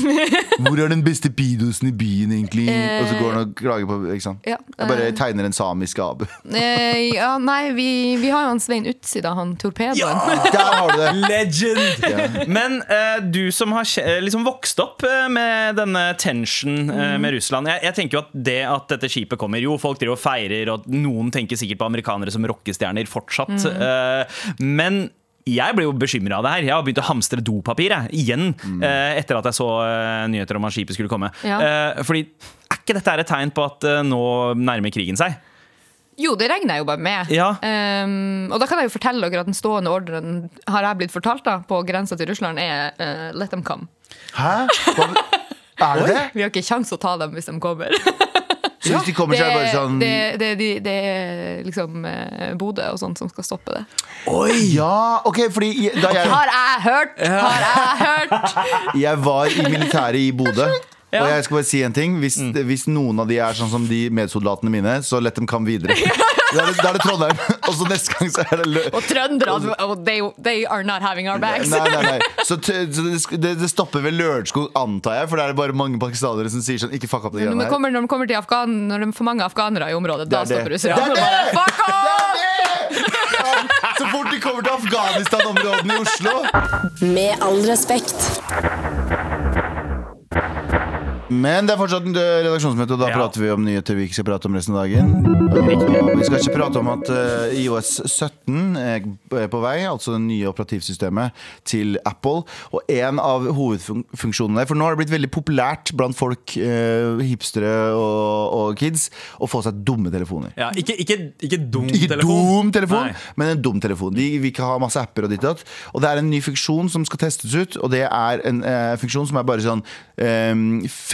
Speaker 2: Hvor er den beste bidosen i byen, egentlig? Og så går han og klager på ikke sant?
Speaker 4: Ja,
Speaker 2: Jeg bare
Speaker 4: eh,
Speaker 2: tegner en samisk abu.
Speaker 4: eh, ja, nei, vi, vi har jo han Svein Utsi, da, han torpedoen.
Speaker 2: Der har du det!
Speaker 3: Legend! Men eh, du som har kje- eh, liksom vokst opp eh, med denne tension eh, med Russland jeg, jeg tenker jo at det at dette skipet kommer Jo, folk driver og feirer, og noen tenker sikkert på amerikanere som rockestjerner fortsatt. eh, men jeg ble jo bekymra av det her. Jeg har begynt å hamstre dopapir jeg, igjen. eh, etter at jeg så eh, nyheter om at skipet skulle komme.
Speaker 4: Ja.
Speaker 3: Eh, fordi er ikke dette her et tegn på at eh, nå nærmer krigen seg?
Speaker 4: Jo, det regner jeg jo bare med.
Speaker 3: Ja.
Speaker 4: Ehm, og da kan jeg jo fortelle dere at den stående ordren har jeg blitt fortalt da, på grensa til Russland, er eh, let them come.
Speaker 2: Hæ? Hva, er det det?
Speaker 4: Vi har ikke kjangs å ta dem hvis de kommer.
Speaker 2: Så hvis de kommer, så er det bare sånn
Speaker 4: det, det, det, det er liksom eh, Bodø og sånt som skal stoppe det.
Speaker 2: Ja, ok, fordi jeg- da jeg
Speaker 4: Har jeg hørt! Har jeg hørt!
Speaker 2: Jeg var i militæret i Bodø. Og jeg skal bare si en ting hvis,
Speaker 4: Mm.
Speaker 2: hvis noen av de er sånn som de medsoldatene mine, så lett dem kan videre. Da er det, da er det Trondheim. Og så neste gang så er det lø...
Speaker 4: Og trønderne oh, they, they are not having our
Speaker 2: Nei,
Speaker 4: backs.
Speaker 2: nei, nei. Så, t så det, sk- det, det stopper ved Lørenskog, antar jeg, for der er det bare mange pakistanere som sier sånn Ikke fuck opp de
Speaker 4: Når
Speaker 2: greiene
Speaker 4: man
Speaker 2: her.
Speaker 4: kommer, når man kommer til Afghan, når det er for mange afghanere i området, da
Speaker 2: Det er
Speaker 4: stopper
Speaker 2: det.
Speaker 4: russerne.
Speaker 2: Det er det!
Speaker 4: Fuck off!
Speaker 2: Så fort de kommer til Afghanistan-områdene i Oslo
Speaker 1: Med all respekt.
Speaker 2: Men det er fortsatt en eh, redaksjonsmøte, og da
Speaker 3: Ja.
Speaker 2: prater vi om nyheter vi ikke skal prate om resten av dagen. Og vi skal ikke prate om at eh, IOS 17 er er på vei, altså det nye operativsystemet til Apple. Og en av hovedfunksjonene der, for nå har det blitt veldig populært blant folk, eh, hipstere og, og kids, å få seg dumme telefoner.
Speaker 3: Ja, ikke, ikke, ikke dum
Speaker 2: Ikke dum telefon,
Speaker 3: Nei.
Speaker 2: men en dum telefon. De vil ikke ha masse apper og ditt og datt. Og det er en ny funksjon som skal testes ut, og det er en eh, funksjon som er bare sånn eh,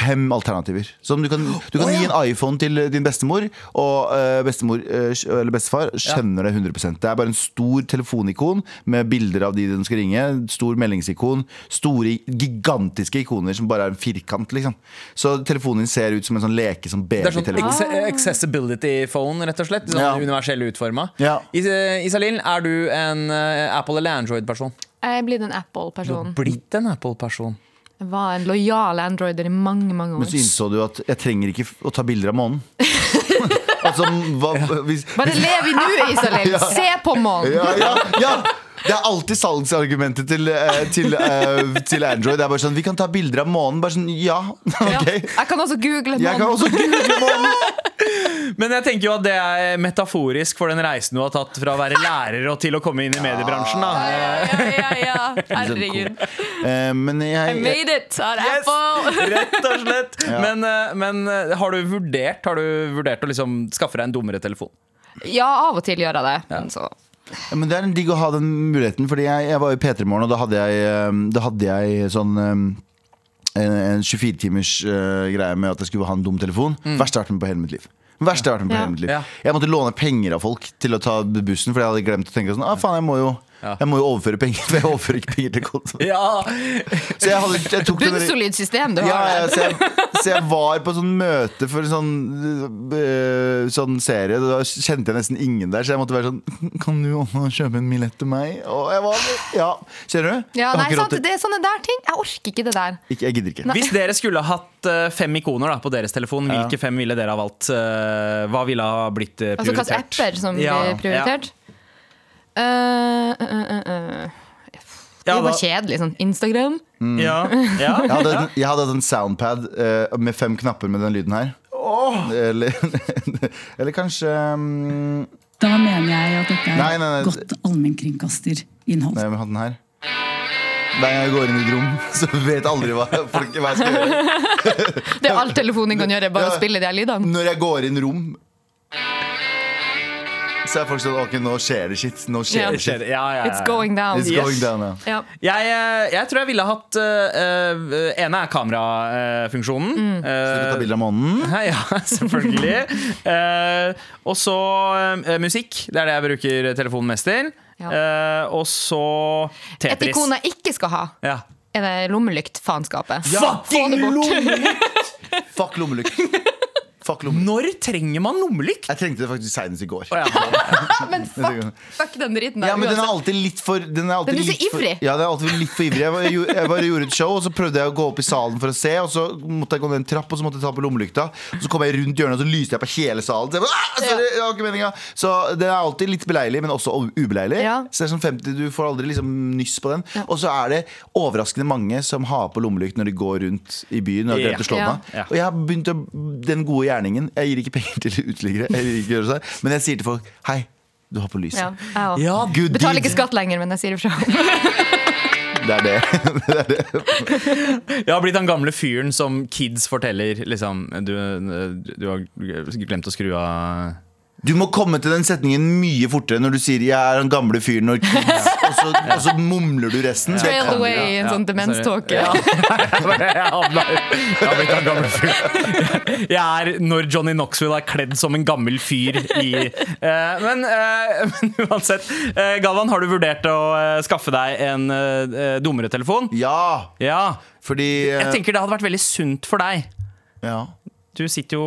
Speaker 2: fem alternativer. Som du kan, du kan eh, gi en iPhone til din bestemor, og eh, bestemor eh, eller bestefar skjønner det 100 Det er bare en stor telefonikon med bilder av de den skal ringe. Stor meldingsikon. Store, gigantiske ikoner som bare er en firkant, liksom. Så telefonen din ser ut som en sånn leke som
Speaker 3: Det er sånn
Speaker 2: babytelefon.
Speaker 3: acce- accessibility phone, rett og slett. Sånn
Speaker 2: Ja.
Speaker 3: universell utforma.
Speaker 2: Ja.
Speaker 3: Isalill, er du en eh, Apple eller Android-person?
Speaker 4: Jeg er blitt en Apple-person.
Speaker 3: Blitt en Apple-person.
Speaker 4: Jeg var en lojal androider i mange, mange
Speaker 2: Men så
Speaker 4: år.
Speaker 2: innså du at jeg trenger ikke f- å ta bilder av månen. altså, hva, hvis,
Speaker 4: Bare lev i nuet, Isalill! Se på månen!
Speaker 2: ja, ja, ja. Det er alltid salgsargumentet til, eh, til, eh, til Android. Det er bare sånn, Vi kan ta bilder av månen. Bare sånn, ja,
Speaker 4: Ja.
Speaker 2: ok.
Speaker 4: Jeg kan også google
Speaker 2: Jeg kan
Speaker 4: månen.
Speaker 2: også google månen!
Speaker 3: Men jeg tenker jo at det er metaforisk for den reisen du har tatt fra å være lærer og til å komme inn i mediebransjen. da
Speaker 4: Ja, ja, ja. Herregud.
Speaker 2: Eh, men
Speaker 4: I
Speaker 2: jeg,
Speaker 4: made it! Har
Speaker 3: Yes!
Speaker 4: Apple!
Speaker 3: Rett og slett. Men, eh, men eh, har du vurdert Har du vurdert å liksom skaffe deg en dummere telefon?
Speaker 4: Ja, av og til gjør jeg det. Men så
Speaker 2: Ja, Men det er en digg å ha den muligheten, Fordi jeg, jeg var i P3 Morgen, og da hadde jeg, eh, da hadde jeg sånn eh, en, en 24-timers eh, greie med at jeg skulle ha en dum telefon. Verste jeg har vært med på hele mitt liv. Verste Jeg har vært med på
Speaker 4: Ja.
Speaker 2: hele mitt liv
Speaker 3: Mm. Ja.
Speaker 2: Jeg måtte låne penger av folk til å ta bussen, Fordi jeg hadde glemt å tenke sånn ah, faen, jeg må jo Jeg må jo overføre penger, for jeg overfører ikke penger til kontoen.
Speaker 3: Ja!
Speaker 2: Så jeg, hadde, jeg tok sånn den-
Speaker 4: Bunnsolid system du
Speaker 2: ja,
Speaker 4: har
Speaker 2: ja,
Speaker 4: der.
Speaker 2: så, jeg, så jeg var på sånn møte for en sånn, øh, sånn serie. og Da kjente jeg nesten ingen der, så jeg måtte være sånn Kan du også kjøpe en millett til meg? Og jeg var Ja, skjønner du?
Speaker 4: Ja,
Speaker 2: jeg, har
Speaker 4: nei,
Speaker 2: ikke
Speaker 4: sant?
Speaker 2: råd til-
Speaker 4: Det er sånne der ting. Jeg orker ikke det der.
Speaker 2: ikke, jeg gidder ikke.
Speaker 4: Nei.
Speaker 3: Hvis dere skulle hatt eh, fem ikoner da, på deres telefon, hvilke fem ville dere ha valgt? Eh, Hva ville ha blitt eh,
Speaker 4: Altså hva
Speaker 3: prioritert?
Speaker 4: slags apper som
Speaker 3: Ja,
Speaker 4: blir prioritert. Eh, eh, eh, eh. Det
Speaker 3: Ja,
Speaker 4: er
Speaker 3: da-
Speaker 4: bare kjedelig. Sånn Instagram.
Speaker 3: Ja, ja.
Speaker 2: Jeg hadde, jeg hadde hatt en soundpad øh, med fem knapper med den lyden her. Eller, eller kanskje mm,
Speaker 8: Da mener jeg at dette er
Speaker 2: Nei, nei, nei.
Speaker 8: godt allmennkringkasterinnhold.
Speaker 2: Nei, vi hadde den her. Hver gang jeg går inn i et rom, så vet jeg aldri hva, folk, hva jeg skal gjøre.
Speaker 4: Det er alt telefonen kan gjøre, bare
Speaker 2: Ja.
Speaker 4: å spille de her lydene.
Speaker 2: Når jeg går inn rom Så er folk sånn Ok, nå skjer det shit. Nå skjer
Speaker 4: Ja.
Speaker 2: det shit.
Speaker 3: Ja, ja, ja.
Speaker 4: It's going down.
Speaker 2: It's
Speaker 3: Yes.
Speaker 2: going down now.
Speaker 4: Ja.
Speaker 3: Jeg, eh, jeg tror jeg ville hatt eh, eh, Ene er kamerafunksjonen. Mm.
Speaker 2: Så du tar bilder av månen.
Speaker 3: Hei, ja, selvfølgelig. Eh, og så eh, musikk. Det er det jeg bruker telefonen mest til.
Speaker 4: Ja.
Speaker 3: Eh, og så
Speaker 4: Et
Speaker 3: Tetris.
Speaker 4: ikon jeg ikke skal ha,
Speaker 3: Ja.
Speaker 4: er det lommelyktfaenskapet.
Speaker 3: Fucking lommelykt!
Speaker 2: Fuck lommelykt. Fuck lommelykt.
Speaker 3: Når trenger man lommelykt?
Speaker 2: Jeg trengte det faktisk senest i går.
Speaker 3: Å, ja.
Speaker 4: Men fuck, fuck den driten der.
Speaker 2: Ja, men Den er
Speaker 4: uansett.
Speaker 2: alltid litt for Den er, alltid
Speaker 4: Den er så
Speaker 2: litt for-
Speaker 4: ivrig.
Speaker 2: Ja, den er alltid litt for ivrig. Jeg, var, jeg, jeg bare gjorde et show, og så prøvde jeg å gå opp i salen for å se. Og så måtte jeg gå ned en trapp, og så måtte jeg ta på lommelykta. Og så kom jeg rundt hjørnet, og så lyste jeg på hele salen. Så, jeg bare, ah, sorry, jeg har ikke meningen. så den er alltid litt beleilig, men også ubeleilig.
Speaker 4: Ja.
Speaker 2: Så det er sånn 50, Du får aldri liksom nyss på den. Og så er det overraskende mange som har på lommelykt når de går rundt i byen. Og, har
Speaker 3: Ja.
Speaker 2: glemt å slå den
Speaker 4: Ja.
Speaker 2: av. og jeg har begynt å, den gode gjerningen Jeg gir ikke penger til uteliggere, jeg gir ikke gjøre seg, men jeg sier til folk Hei, du har på lyset.
Speaker 4: Ja, jeg også.
Speaker 3: Ja,
Speaker 2: Good
Speaker 4: Betaler
Speaker 2: deed.
Speaker 4: ikke skatt lenger, men jeg sier ifra.
Speaker 2: Det er det.
Speaker 3: Jeg har blitt han gamle fyren som kids forteller liksom Du, du har glemt å skru av
Speaker 2: Du må komme til den setningen mye fortere når du sier 'jeg er den gamle fyren' og, og, så, og så mumler du resten. Det
Speaker 4: Trail
Speaker 2: kan du.
Speaker 4: away, en
Speaker 3: ja,
Speaker 4: sånn demenståke.
Speaker 3: sorry. Jeg havna i- jeg har blitt en gammel fyr. Jeg er når Johnny Knoxville er kledd som en gammel fyr i eh, men, eh, men uansett. eh, Galvan, har du vurdert å eh, skaffe deg en eh, dummere telefon?
Speaker 2: Ja,
Speaker 3: Ja.
Speaker 2: fordi
Speaker 3: Jeg
Speaker 2: eh,
Speaker 3: tenker det hadde vært veldig sunt for deg.
Speaker 2: Ja,
Speaker 3: Du sitter jo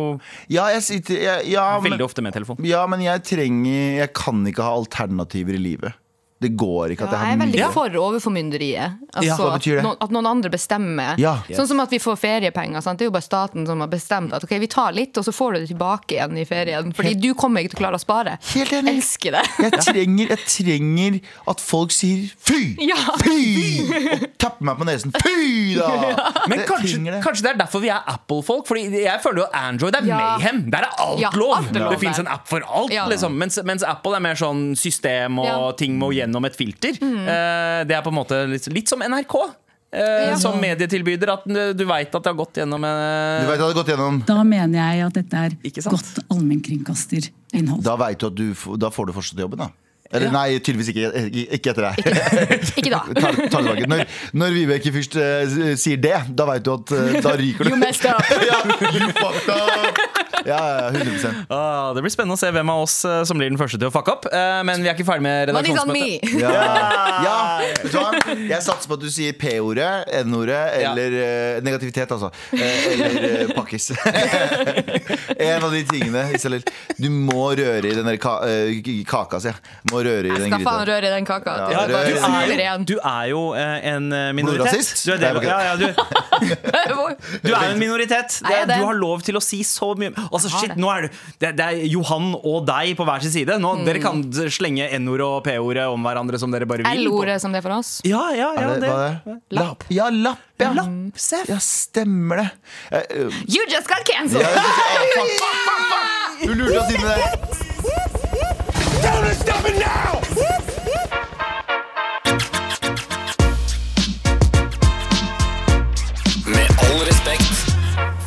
Speaker 2: ja jeg sitter jeg, ja, men,
Speaker 3: veldig ofte med telefon.
Speaker 2: ja, men jeg trenger Jeg kan ikke ha alternativer i livet. Det går ikke
Speaker 4: Ja,
Speaker 2: at jeg
Speaker 4: jeg
Speaker 2: har
Speaker 4: er veldig
Speaker 2: mye.
Speaker 4: for overformynderiet.
Speaker 2: Ja,
Speaker 4: Altså,
Speaker 2: hva
Speaker 4: at,
Speaker 2: betyr det?
Speaker 4: noen, at noen andre bestemmer.
Speaker 2: Ja.
Speaker 4: Sånn som at vi får feriepenger. Sant? Det er jo bare staten som har bestemt at ok, vi tar litt, og så får du det tilbake igjen i ferien. Fordi du kommer ikke til å klare å spare.
Speaker 2: Helt enig.
Speaker 4: Elsker det.
Speaker 2: Jeg trenger, jeg trenger at folk sier 'fy',
Speaker 4: Ja.
Speaker 2: 'fy', og tapper meg på nesen. 'Fy', da!
Speaker 3: Men
Speaker 2: Det
Speaker 3: kanskje,
Speaker 2: trenger det.
Speaker 3: kanskje det er derfor vi er Apple-folk. Fordi jeg føler jo Android er
Speaker 4: Ja.
Speaker 3: mayhem. Der er alt
Speaker 4: Ja,
Speaker 3: lov!
Speaker 4: alt er lov
Speaker 3: det fins
Speaker 4: der.
Speaker 3: en app for alt.
Speaker 4: Ja.
Speaker 3: Liksom. Mens, mens Apple er mer sånn system og
Speaker 4: Ja. Mm.
Speaker 3: ting må gjennom et filter. Eh, det er på en måte litt, litt som NRK. eh,
Speaker 4: Ja.
Speaker 3: Som medietilbyder. At du veit at det har gått gjennom
Speaker 2: Du
Speaker 3: eh,
Speaker 2: vet jeg hadde gått gjennom
Speaker 8: Da mener jeg at dette er
Speaker 3: Ikke sant?
Speaker 8: godt allmennkringkasterinnhold.
Speaker 2: Da vet du at du f- Da får du fortsatt jobben, da. Eller nei, tydeligvis ikke, ikke etter deg.
Speaker 4: Ikke da.
Speaker 2: Ta- ta det sånn tilbake. Når, når Vibeke først eh, sier det, da veit du at eh, da ryker du.
Speaker 4: You messed up.
Speaker 2: ja, you fucked up! Ja, ja, 100
Speaker 3: Ah, det blir spennende å se hvem av oss eh, som blir den første til å fucke opp. Eh, men vi er ikke ferdig med
Speaker 4: Money's on
Speaker 3: redaksjonsmøtet.
Speaker 4: me.
Speaker 2: ja. ja. vet du hva? Jeg satser på at du sier P-ordet, N-ordet eller eh, negativitet, altså. Eh, eller eh, pakkis. en av de tingene. Isalill. Du må røre i den der ka eh, kaka, sier jeg. Må røre i
Speaker 4: Jeg
Speaker 2: den
Speaker 4: skal faen
Speaker 2: gryta.
Speaker 4: røre i den kaka.
Speaker 2: Ja,
Speaker 4: Du,
Speaker 2: rør
Speaker 4: du
Speaker 2: i den.
Speaker 4: smuler
Speaker 3: er,
Speaker 4: igjen.
Speaker 3: du er jo eh, en eh, minoritet.
Speaker 2: Blodrasist?
Speaker 3: Du er,
Speaker 2: Nei,
Speaker 3: del,
Speaker 2: jeg
Speaker 3: ja, ja, du, du er jo en minoritet. Det
Speaker 4: jeg
Speaker 3: er,
Speaker 4: det?
Speaker 3: du har lov til å si så mye. Altså,
Speaker 4: har
Speaker 3: shit,
Speaker 4: det.
Speaker 3: nå er du, det, det er Johan og deg på hver sin side. Nå,
Speaker 4: Mm.
Speaker 3: Dere kan slenge N-ordet og P-ordet om hverandre som dere bare vil.
Speaker 4: L-ordet som det er for oss.
Speaker 3: Ja, ja, ja,
Speaker 2: Er det-
Speaker 3: det.
Speaker 2: hva er det?
Speaker 4: Lapp.
Speaker 2: Ja, lapp. Ja,
Speaker 3: Mm. Seff.
Speaker 2: ja stemmer det. Eh, eh,
Speaker 4: You just got cancelled!
Speaker 2: Ja, ja, ja, fuck, fuck, fuck, fuck. Du lurte oss inn i det.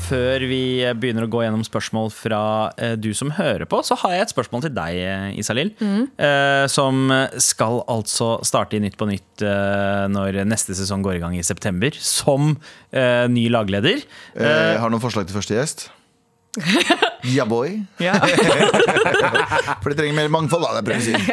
Speaker 3: Før vi eh, begynner å gå gjennom spørsmål fra eh, du som hører på, så har jeg et spørsmål til deg, eh, Isalill.
Speaker 4: Mm.
Speaker 3: eh, Som skal altså starte i Nytt på Nytt eh, når neste sesong går i gang i september, som eh, ny lagleder.
Speaker 2: Eh, Jeg har noen forslag til første gjest. Ja, boy. For de trenger mer mangfold, da. Det prøver jeg å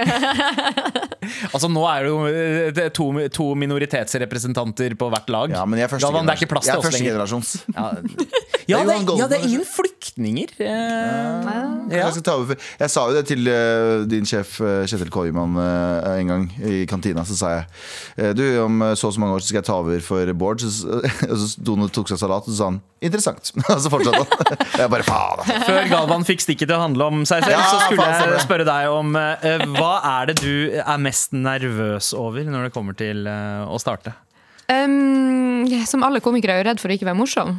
Speaker 2: si.
Speaker 3: Altså Nå er det jo eh, det er to, to minoritetsrepresentanter på hvert lag.
Speaker 2: Ja, men jeg er første
Speaker 3: Galvan, det er ikke
Speaker 2: generasjon.
Speaker 3: plass
Speaker 2: Jeg
Speaker 3: til
Speaker 2: er
Speaker 3: oss
Speaker 2: første generasjons.
Speaker 3: lenger. Ja, ja,
Speaker 2: Det er
Speaker 3: det,
Speaker 2: Johan Golden.
Speaker 3: ja, det er ingen flyktninger. Eh,
Speaker 2: Jeg, skal ta over. jeg sa jo det til eh, din sjef eh, Kjetil Koiman eh, en gang i kantina. Så sa jeg eh, Du, om eh, så og så mange år så skal jeg ta over for Bård. Så, og så sto han og tok seg salat, og så sa han interessant. Og så fortsatte han. Jeg bare faen. altså.
Speaker 3: Før Galvan fikk stikket til å handle om seg selv,
Speaker 2: Ja,
Speaker 3: så skulle
Speaker 2: faen, stemmer
Speaker 3: jeg
Speaker 2: det.
Speaker 3: spørre deg om eh, hva er det du er mest nervøs over når det kommer til eh, å starte?
Speaker 4: Um, som alle komikere er jo redd for å ikke være morsom.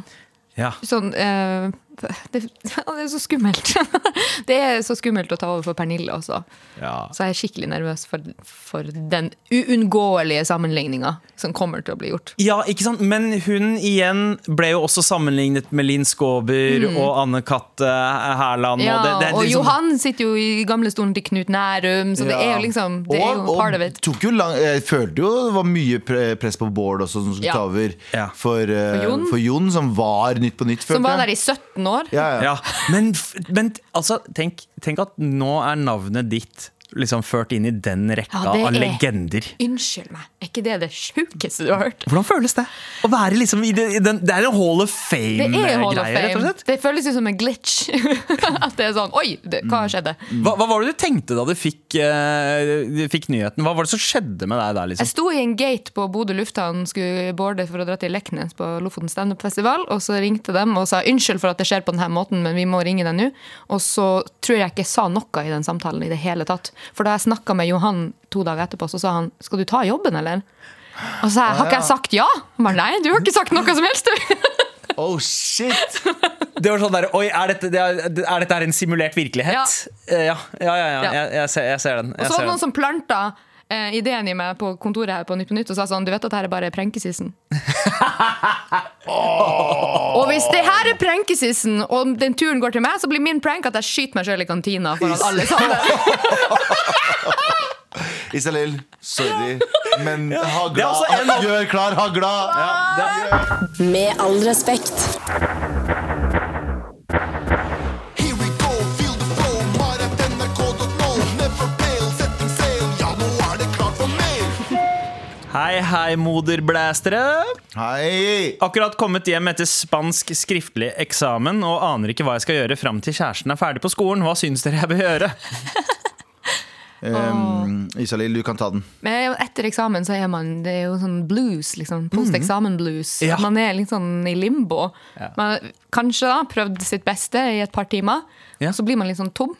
Speaker 3: Ja.
Speaker 4: Sånn, eh, det, det er så skummelt. det er så skummelt å ta over for Pernille også. Så jeg er skikkelig nervøs for, for den uunngåelige sammenligninga som kommer til å bli gjort.
Speaker 3: Ja, ikke sant? Men hun igjen ble jo også sammenlignet med Linn Skåber og Anne-Kat. Hærland.
Speaker 4: Ja,
Speaker 3: og, det, det, er
Speaker 4: og
Speaker 3: liksom-
Speaker 4: Johan sitter jo i gamlestolen til Knut Nærum, så det er jo liksom det er jo
Speaker 2: og,
Speaker 4: part of it.
Speaker 2: Og tok jo lang, jeg følte jo det var mye pre- press på Bård også, som skulle
Speaker 4: Ja.
Speaker 2: ta over
Speaker 3: Ja.
Speaker 2: for, eh,
Speaker 4: For Jon.
Speaker 2: for Jon, som var Nytt på Nytt.
Speaker 4: Som
Speaker 2: følte
Speaker 4: var
Speaker 2: jeg.
Speaker 4: der i 17 år.
Speaker 2: Ja, ja.
Speaker 3: Ja, men, f- men altså, tenk, tenk at nå er navnet ditt liksom ført inn i den rekka
Speaker 4: Ja, det
Speaker 3: av
Speaker 4: er-
Speaker 3: legender.
Speaker 4: Unnskyld meg, er ikke det det sjukeste du har hørt?
Speaker 3: Hvordan føles det? Å være liksom i det, i den, det er en Hall of
Speaker 4: Det er Hall of
Speaker 3: Fame-greie, rett og
Speaker 4: Fame.
Speaker 3: slett.
Speaker 4: Det føles jo som en glitch. At det er sånn Oi, det, hva skjedde?
Speaker 3: Hva, hva var det du tenkte da du fikk, eh, du fikk nyheten? Hva var det som skjedde med deg der?
Speaker 4: Jeg
Speaker 3: liksom?
Speaker 4: sto i en gate på Bodø lufthavn, skulle boarde for å dra til Leknes på Lofoten standup-festival, og så ringte de og sa unnskyld for at det skjer på denne måten, men vi må ringe deg nå. Og så tror jeg ikke jeg sa noe i den samtalen i det hele tatt. For da jeg snakka med Johan to dager etterpå, så sa han skal du ta jobben, eller? Og så sa jeg har ikke jeg sagt ja? Han bare nei, du har ikke sagt noe som helst, du.
Speaker 2: Oh shit!
Speaker 3: Det var sånn der, Oi, er dette, det er, er dette her en simulert virkelighet? Eh, Ja, ja, ja. ja,
Speaker 4: Ja.
Speaker 3: Jeg, jeg, ser, jeg ser den.
Speaker 4: Og
Speaker 3: Jeg
Speaker 4: så var
Speaker 3: ser
Speaker 4: det
Speaker 3: den.
Speaker 4: noen som planta eh, ideen i meg på kontoret her på Nytt på Nytt og sa sånn Du vet at det her er bare prenkesissen? Og hvis det her er prenkesissen, og den turen går til meg, så blir min prank at jeg skyter meg sjøl i kantina foran alle sammen.
Speaker 2: Isalill, sorry. Men
Speaker 3: Det er
Speaker 2: hagla.
Speaker 3: også en av-
Speaker 2: Gjør klar hagla!
Speaker 1: Med all respekt.
Speaker 9: Here we go, feel the flow, maratnrk.no. Never fail, setting sail. Ja, nå er det klart for mer.
Speaker 3: Hei, hei, moderblæstere.
Speaker 2: Hei!
Speaker 3: Akkurat kommet hjem etter spansk skriftlig eksamen og aner ikke hva jeg skal gjøre fram til kjæresten er ferdig på skolen. Hva syns dere jeg bør gjøre?
Speaker 2: Um, Isalill, du kan ta den.
Speaker 4: Men etter eksamen så er man Det er jo sånn blues, liksom. Post-eksamen-blues.
Speaker 3: Ja.
Speaker 4: Man er litt sånn i limbo. Man kanskje da prøvd sitt beste i et par timer,
Speaker 3: Ja.
Speaker 4: og så blir man litt sånn tom.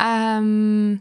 Speaker 4: Ehm,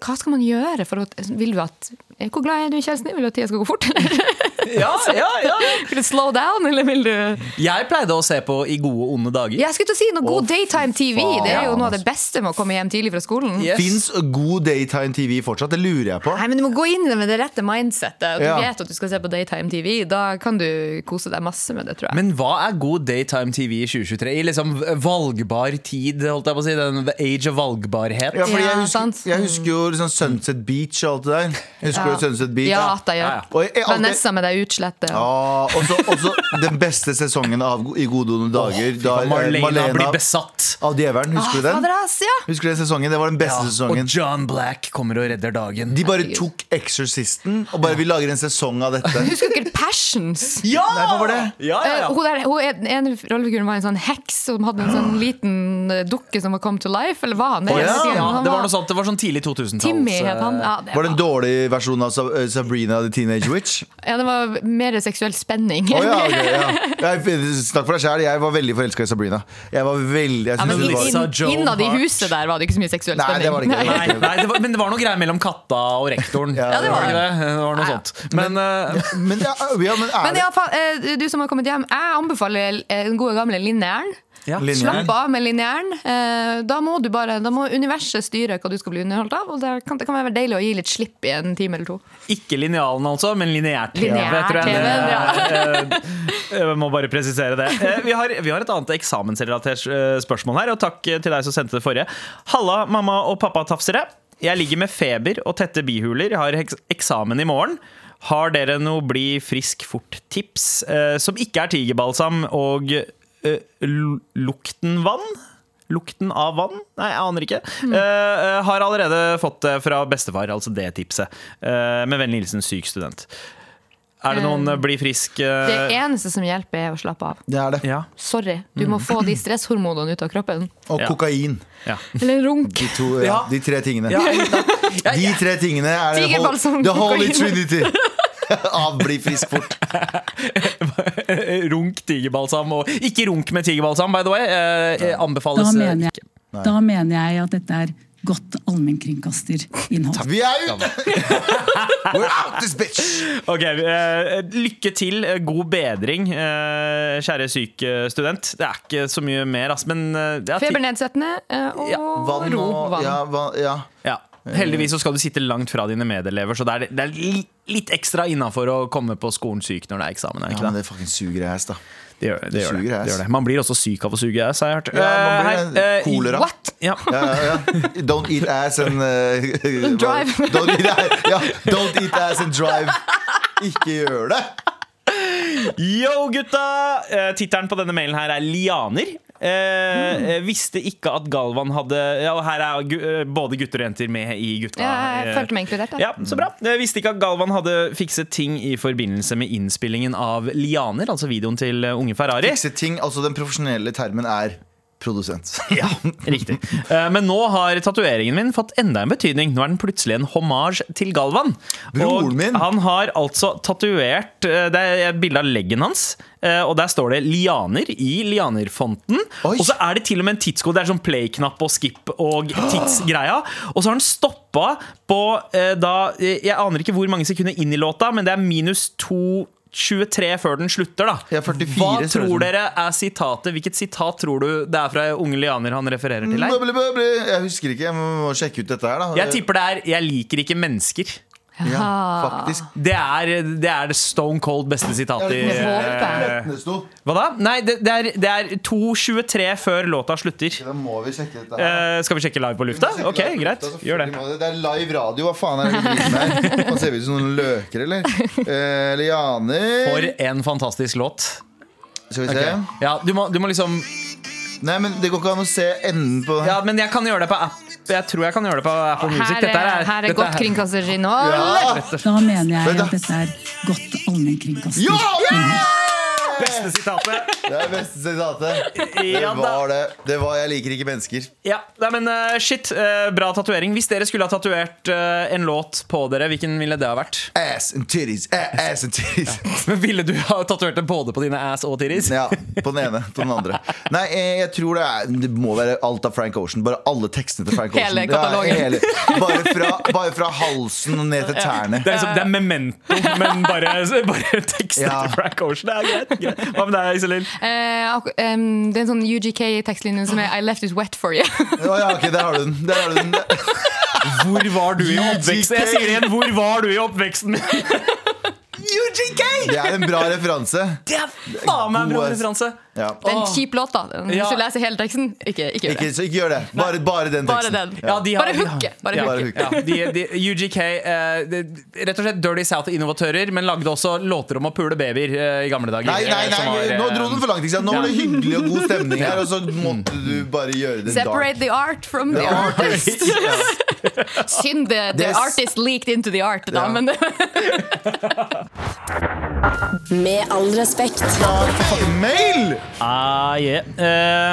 Speaker 4: hva skal man gjøre for å Vil du at Hvor glad er du i kjæresten din? Vil du at tida skal gå fort? Eller?
Speaker 3: Ja, ja, ja.
Speaker 4: Vil du slow down, eller vil du
Speaker 3: Jeg pleide å se på I gode og onde dager.
Speaker 4: Jeg skulle til å si noe
Speaker 2: Å,
Speaker 4: god
Speaker 2: fy
Speaker 4: daytime TV. Det er jo
Speaker 2: faen,
Speaker 4: noe av det beste med å komme hjem tidlig fra skolen.
Speaker 3: Yes.
Speaker 2: Fins god daytime TV fortsatt? Det lurer jeg på.
Speaker 4: Nei, men Du må gå inn i det med det rette mindsettet. Og du
Speaker 2: Ja.
Speaker 4: vet at du skal se på daytime TV. Da kan du kose deg masse med det, tror jeg.
Speaker 3: Men hva er god daytime TV i 2023? I liksom valgbar tid, holdt jeg på å si. Den, the age of valgbarhet.
Speaker 2: Ja, fordi jeg,
Speaker 4: Ja,
Speaker 2: husker,
Speaker 4: sant.
Speaker 2: jeg husker jo du sånn Sunset Beach og alt det der? Husker du Sunset Beach?
Speaker 4: Ja, at jeg
Speaker 3: Ja, ja.
Speaker 4: gjør.
Speaker 2: Og jeg- jeg alltid-
Speaker 4: Vanessa med det utslettet.
Speaker 2: Ja, og så- og så den beste sesongen av Go- I gode onde dager. da eh,
Speaker 3: Marlena, blir
Speaker 2: Marlena
Speaker 3: besatt.
Speaker 2: av djevelen,
Speaker 4: Ah,
Speaker 2: husker du den?
Speaker 4: fader, ass, ja.
Speaker 2: Husker du den sesongen? Det var den beste sesongen.
Speaker 3: Og John Black kommer og redder dagen.
Speaker 2: De bare
Speaker 4: Herregud.
Speaker 2: tok Exorcisten og bare vi lager en sesong av dette.
Speaker 4: Husker dere Passions?
Speaker 3: ja!
Speaker 2: Nei, hva var det?
Speaker 3: Ja, ja,
Speaker 4: Eh,
Speaker 3: ja.
Speaker 4: Hun der, hun, er- den ene rollefiguren var en sånn heks som hadde en sånn liten eh, dukke som var come to life, eller hva han
Speaker 3: Å, ja.
Speaker 4: Han
Speaker 3: ja,
Speaker 4: var-
Speaker 3: det var noe sånt, det var sånn tidlig 2000-talls.
Speaker 4: Timmy het han.
Speaker 3: eh,
Speaker 4: Ja, det
Speaker 2: Var det en
Speaker 4: var,
Speaker 2: dårlig versjon av Sa- eh, Sabrina the Teenage Witch?
Speaker 4: ja, det var mer seksuell spenning.
Speaker 2: Å ja, ok, ja. Jeg, snakk for deg sjæl, jeg var veldig forelska i Sabrina. Jeg var veldig jeg
Speaker 4: Ja,
Speaker 2: synes
Speaker 4: men inn-
Speaker 2: det var,
Speaker 3: Lisa
Speaker 4: inn-
Speaker 3: Joan
Speaker 4: Innad i
Speaker 3: Hart.
Speaker 4: huset der var det ikke så mye seksuell
Speaker 2: Nei,
Speaker 4: spenning.
Speaker 2: det var det ikke.
Speaker 3: Nei, nei det var, men det var noe greier mellom katta og rektoren.
Speaker 2: Ja, det var
Speaker 3: ikke
Speaker 4: det.
Speaker 3: det. det var noe
Speaker 4: Ja.
Speaker 3: sånt Men eh,
Speaker 2: men, ja, ja, men, er
Speaker 4: Men
Speaker 2: det,
Speaker 4: i alle fall, eh, du som har kommet hjem, jeg anbefaler eh, den gode gamle lineæren.
Speaker 3: ja.
Speaker 2: Linjær.
Speaker 4: Slapp av med lineæren. Eh, Da må, du bare, da må universet styre hva du skal bli underholdt av. Og det kan, det kan være deilig å gi litt slipp i en time eller to.
Speaker 3: Ikke linealen, altså, men lineær-TV.
Speaker 4: Lineær
Speaker 3: tror jeg.
Speaker 4: TV,
Speaker 3: Eh, eh, jeg må bare presisere det. Eh, Vi har, vi har et annet eksamensrelatert eh, spørsmål her, og takk eh, til deg som sendte det forrige. Halla, mamma og pappa-tafsere. Jeg ligger med feber og tette bihuler, har eks- eksamen i morgen. Har dere noe bli frisk fort-tips eh, som ikke er tigerbalsam og eh, lu- lukten vann? Lukten av vann? Nei, jeg aner ikke. Eh, eh, har allerede fått det fra bestefar, altså det tipset. Eh, med vennlig hilsen syk student. Er det noen eh, bli frisk eh,
Speaker 4: Det eneste som hjelper, er å slappe av.
Speaker 2: det er det.
Speaker 3: Ja.
Speaker 4: Sorry. Du må få de stresshormonene ut av kroppen.
Speaker 2: Og
Speaker 3: Ja.
Speaker 2: kokain.
Speaker 4: Eller runk.
Speaker 2: De, to, ja,
Speaker 3: Ja.
Speaker 2: de tre tingene. De tre tingene er det
Speaker 4: Tigerbalsam,
Speaker 2: the holy
Speaker 4: kokain.
Speaker 2: trinity av bli frisk fort.
Speaker 3: Runk tigerbalsam. Og ikke runk med tigerbalsam, by the way. Eh, eh,
Speaker 8: Da
Speaker 3: anbefales eh,
Speaker 8: mener
Speaker 3: ikke.
Speaker 8: jeg, da mener jeg at dette er godt allmennkringkasterinnhold.
Speaker 2: Vi er ute! We're out this bitch!
Speaker 3: Ok, eh, Lykke til. eh, God bedring, eh, kjære syk eh, student. Det er ikke så mye mer, ass, men eh, det er ti-
Speaker 4: Febernedsettende eh, og
Speaker 3: Ja,
Speaker 2: Vann
Speaker 4: ro.
Speaker 2: og
Speaker 4: Vann.
Speaker 2: ja, vann, ja.
Speaker 3: Ja. Heldigvis så skal du sitte langt fra dine medelever, så det er, det er li- litt ekstra innafor å komme på skolen syk når det er eksamen. Er
Speaker 2: ja,
Speaker 3: ikke
Speaker 2: men
Speaker 3: det?
Speaker 2: det fucking suger ass, da.
Speaker 3: Det gjør det, det, gjør det,
Speaker 2: suger
Speaker 3: det,
Speaker 2: ass.
Speaker 3: gjør det. Man blir også syk av å suge ass, har jeg hørt.
Speaker 2: Ja, man
Speaker 3: Eh,
Speaker 2: blir
Speaker 3: her, eh,
Speaker 2: kolera.
Speaker 4: What?
Speaker 3: Ja.
Speaker 2: Ja, ja, ja. Don't eat ass and uh,
Speaker 4: Drive.
Speaker 2: Don't eat, ass- ja, don't eat ass and drive. Ikke gjør det!
Speaker 3: Yo, gutta! Eh, Tittelen på denne mailen her er Lianer. Eh,
Speaker 2: Hmm.
Speaker 3: eh, Visste ikke at Galvan hadde Ja, og her er gu- eh, både gutter og jenter med i gutta.
Speaker 4: Ja, jeg
Speaker 3: eh,
Speaker 4: følte meg inkludert.
Speaker 3: Ja,
Speaker 4: da.
Speaker 3: så bra. Jeg visste ikke at Galvan hadde fikset ting i forbindelse med innspillingen av Lianer, altså videoen til eh, Unge Ferrari.
Speaker 2: Fikse ting, altså Den profesjonelle termen er produsent.
Speaker 3: Ja, riktig. Eh, Men nå har tatoveringen min fått enda en betydning. Nå er den plutselig en hommage til Galvan.
Speaker 2: Broren min.
Speaker 3: han har altså tatovert eh, Det er et bilde av leggen hans, eh, og der står det 'Lianer' i Lianer-fonten.
Speaker 2: Oi.
Speaker 3: Og så er det til og med en tidskode. Det er sånn play-knapp og skip og tidsgreia. Og så har han stoppa på eh, da eh, Jeg aner ikke hvor mange sekunder inn i låta, men det er minus 2 23 før den slutter, da.
Speaker 2: Ja, 44
Speaker 3: Hva
Speaker 2: ser det
Speaker 3: tror
Speaker 2: ut som.
Speaker 3: dere er sitatet? Hvilket sitat tror du det er fra Unge Lianer han refererer til her?
Speaker 2: Møble, møble. Jeg husker ikke. Jeg må må sjekke ut dette her, da.
Speaker 3: Jeg tipper det er 'Jeg liker ikke mennesker'.
Speaker 2: ja, faktisk.
Speaker 3: Det er det, er det stone cold beste sitatet i
Speaker 4: Jeg håper.
Speaker 2: Det sto.
Speaker 3: Hva da? Nei, det, det er, det er 2.23 før låta slutter.
Speaker 2: Da må vi sjekke dette her.
Speaker 3: Eh, skal vi sjekke live på lufta?
Speaker 2: altså, Vi må sjekke
Speaker 3: Ok,
Speaker 2: live på
Speaker 3: greit.
Speaker 2: lufta,
Speaker 3: Gjør det.
Speaker 2: selvfølgelig må Det er live radio. Hva faen er det vi driver med her? Man ser vi ut som noen løker, eller? Eh, Lianer
Speaker 3: For en fantastisk låt.
Speaker 2: Skal vi se.
Speaker 3: Ok. Ja, du, må, du må liksom
Speaker 2: Nei, men Det går ikke an å se enden på
Speaker 3: Ja, men jeg kan gjøre det på app Jeg tror jeg kan gjøre det på Apple Music.
Speaker 4: Her
Speaker 3: Dette
Speaker 4: er, her er
Speaker 3: dette
Speaker 4: godt kringkasterinnhold.
Speaker 2: Ja!
Speaker 8: Da mener
Speaker 2: Vent
Speaker 8: jeg
Speaker 2: da.
Speaker 8: at dette er godt
Speaker 2: Ja!
Speaker 8: allmennkringkasterinnhold.
Speaker 3: Beste sitatet.
Speaker 2: Det er beste sitatet. Det
Speaker 3: Ja, da.
Speaker 2: var det. Det var 'Jeg liker ikke mennesker'.
Speaker 3: Ja, nei, men eh, shit, eh, bra tatovering. Hvis dere skulle ha tatovert eh, en låt på dere, hvilken ville det ha vært?
Speaker 2: Ass and titties. a- Ass and titties.
Speaker 3: Men Ville du ha tatovert det både på dine ass og titties?
Speaker 2: Ja, På den ene, på den andre. Nei, eh, jeg tror det, er, det må være alt av Frank Ocean. Bare alle tekstene til Frank Ocean.
Speaker 4: Hele katalogen.
Speaker 2: Ja, hele. Bare, fra, bare fra halsen og ned til tærne.
Speaker 3: Det er, liksom, det er memento, men bare, bare tekster
Speaker 2: Ja.
Speaker 3: til Frank Ocean. Det er greit. greit. Hva med deg, Iselin?
Speaker 4: Eh, ak- em, det er en sånn UGK-tekstlinje som er I left it wet for you.
Speaker 2: Å ja, ok, der har du den. Der har du den.
Speaker 3: Hvor var du i
Speaker 2: oppveksten?
Speaker 3: Jeg sier det igjen. Hvor var du i oppveksten? UGK!
Speaker 2: Det er en bra referanse.
Speaker 3: Det er faen meg en bra
Speaker 2: God ass.
Speaker 3: referanse.
Speaker 2: Ja.
Speaker 4: Det er en kjip låt, da. Den-
Speaker 7: Ja.
Speaker 4: Hvis du leser hele teksten, ikke, ikke gjør
Speaker 2: Ikke,
Speaker 4: det.
Speaker 2: så ikke gjør det. Bare, bare den
Speaker 4: Bare
Speaker 2: teksten.
Speaker 4: den.
Speaker 2: Ja.
Speaker 7: de har-
Speaker 4: Bare
Speaker 7: de har-
Speaker 4: hooket. Bare
Speaker 7: Ja,
Speaker 2: hooket.
Speaker 7: Ja, de, de, UGK, eh, de, rett og slett Dirty South-innovatører, men lagde også låter om å pule babyer eh, i gamle dager.
Speaker 2: Nei, nei,
Speaker 7: eh,
Speaker 2: nei,
Speaker 7: som var, eh,
Speaker 2: nå dro den for langt. Ikke sant? Nå var det hyggelig og god stemning her, og så måtte du bare gjøre det
Speaker 4: Separate the art from the art.
Speaker 2: dark. Ja.
Speaker 4: Synd the, the
Speaker 2: Det er s-
Speaker 4: artist leaked into the art, da.
Speaker 2: Ja.
Speaker 4: Men
Speaker 1: Med all respekt.
Speaker 2: Mail!
Speaker 3: Ah, yeah.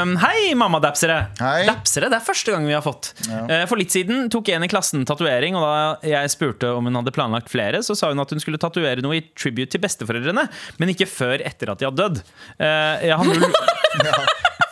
Speaker 3: Ehm, hei, mammadapsere!
Speaker 2: Hei.
Speaker 3: Dapsere, Det er første gang vi har fått. Eh, for litt siden tok en i klassen tatovering, og da jeg spurte om hun hadde planlagt flere, så sa hun at hun skulle tatovere noe i tribute til besteforeldrene, men ikke før etter at de hadde dødd. Eh, jeg, har null,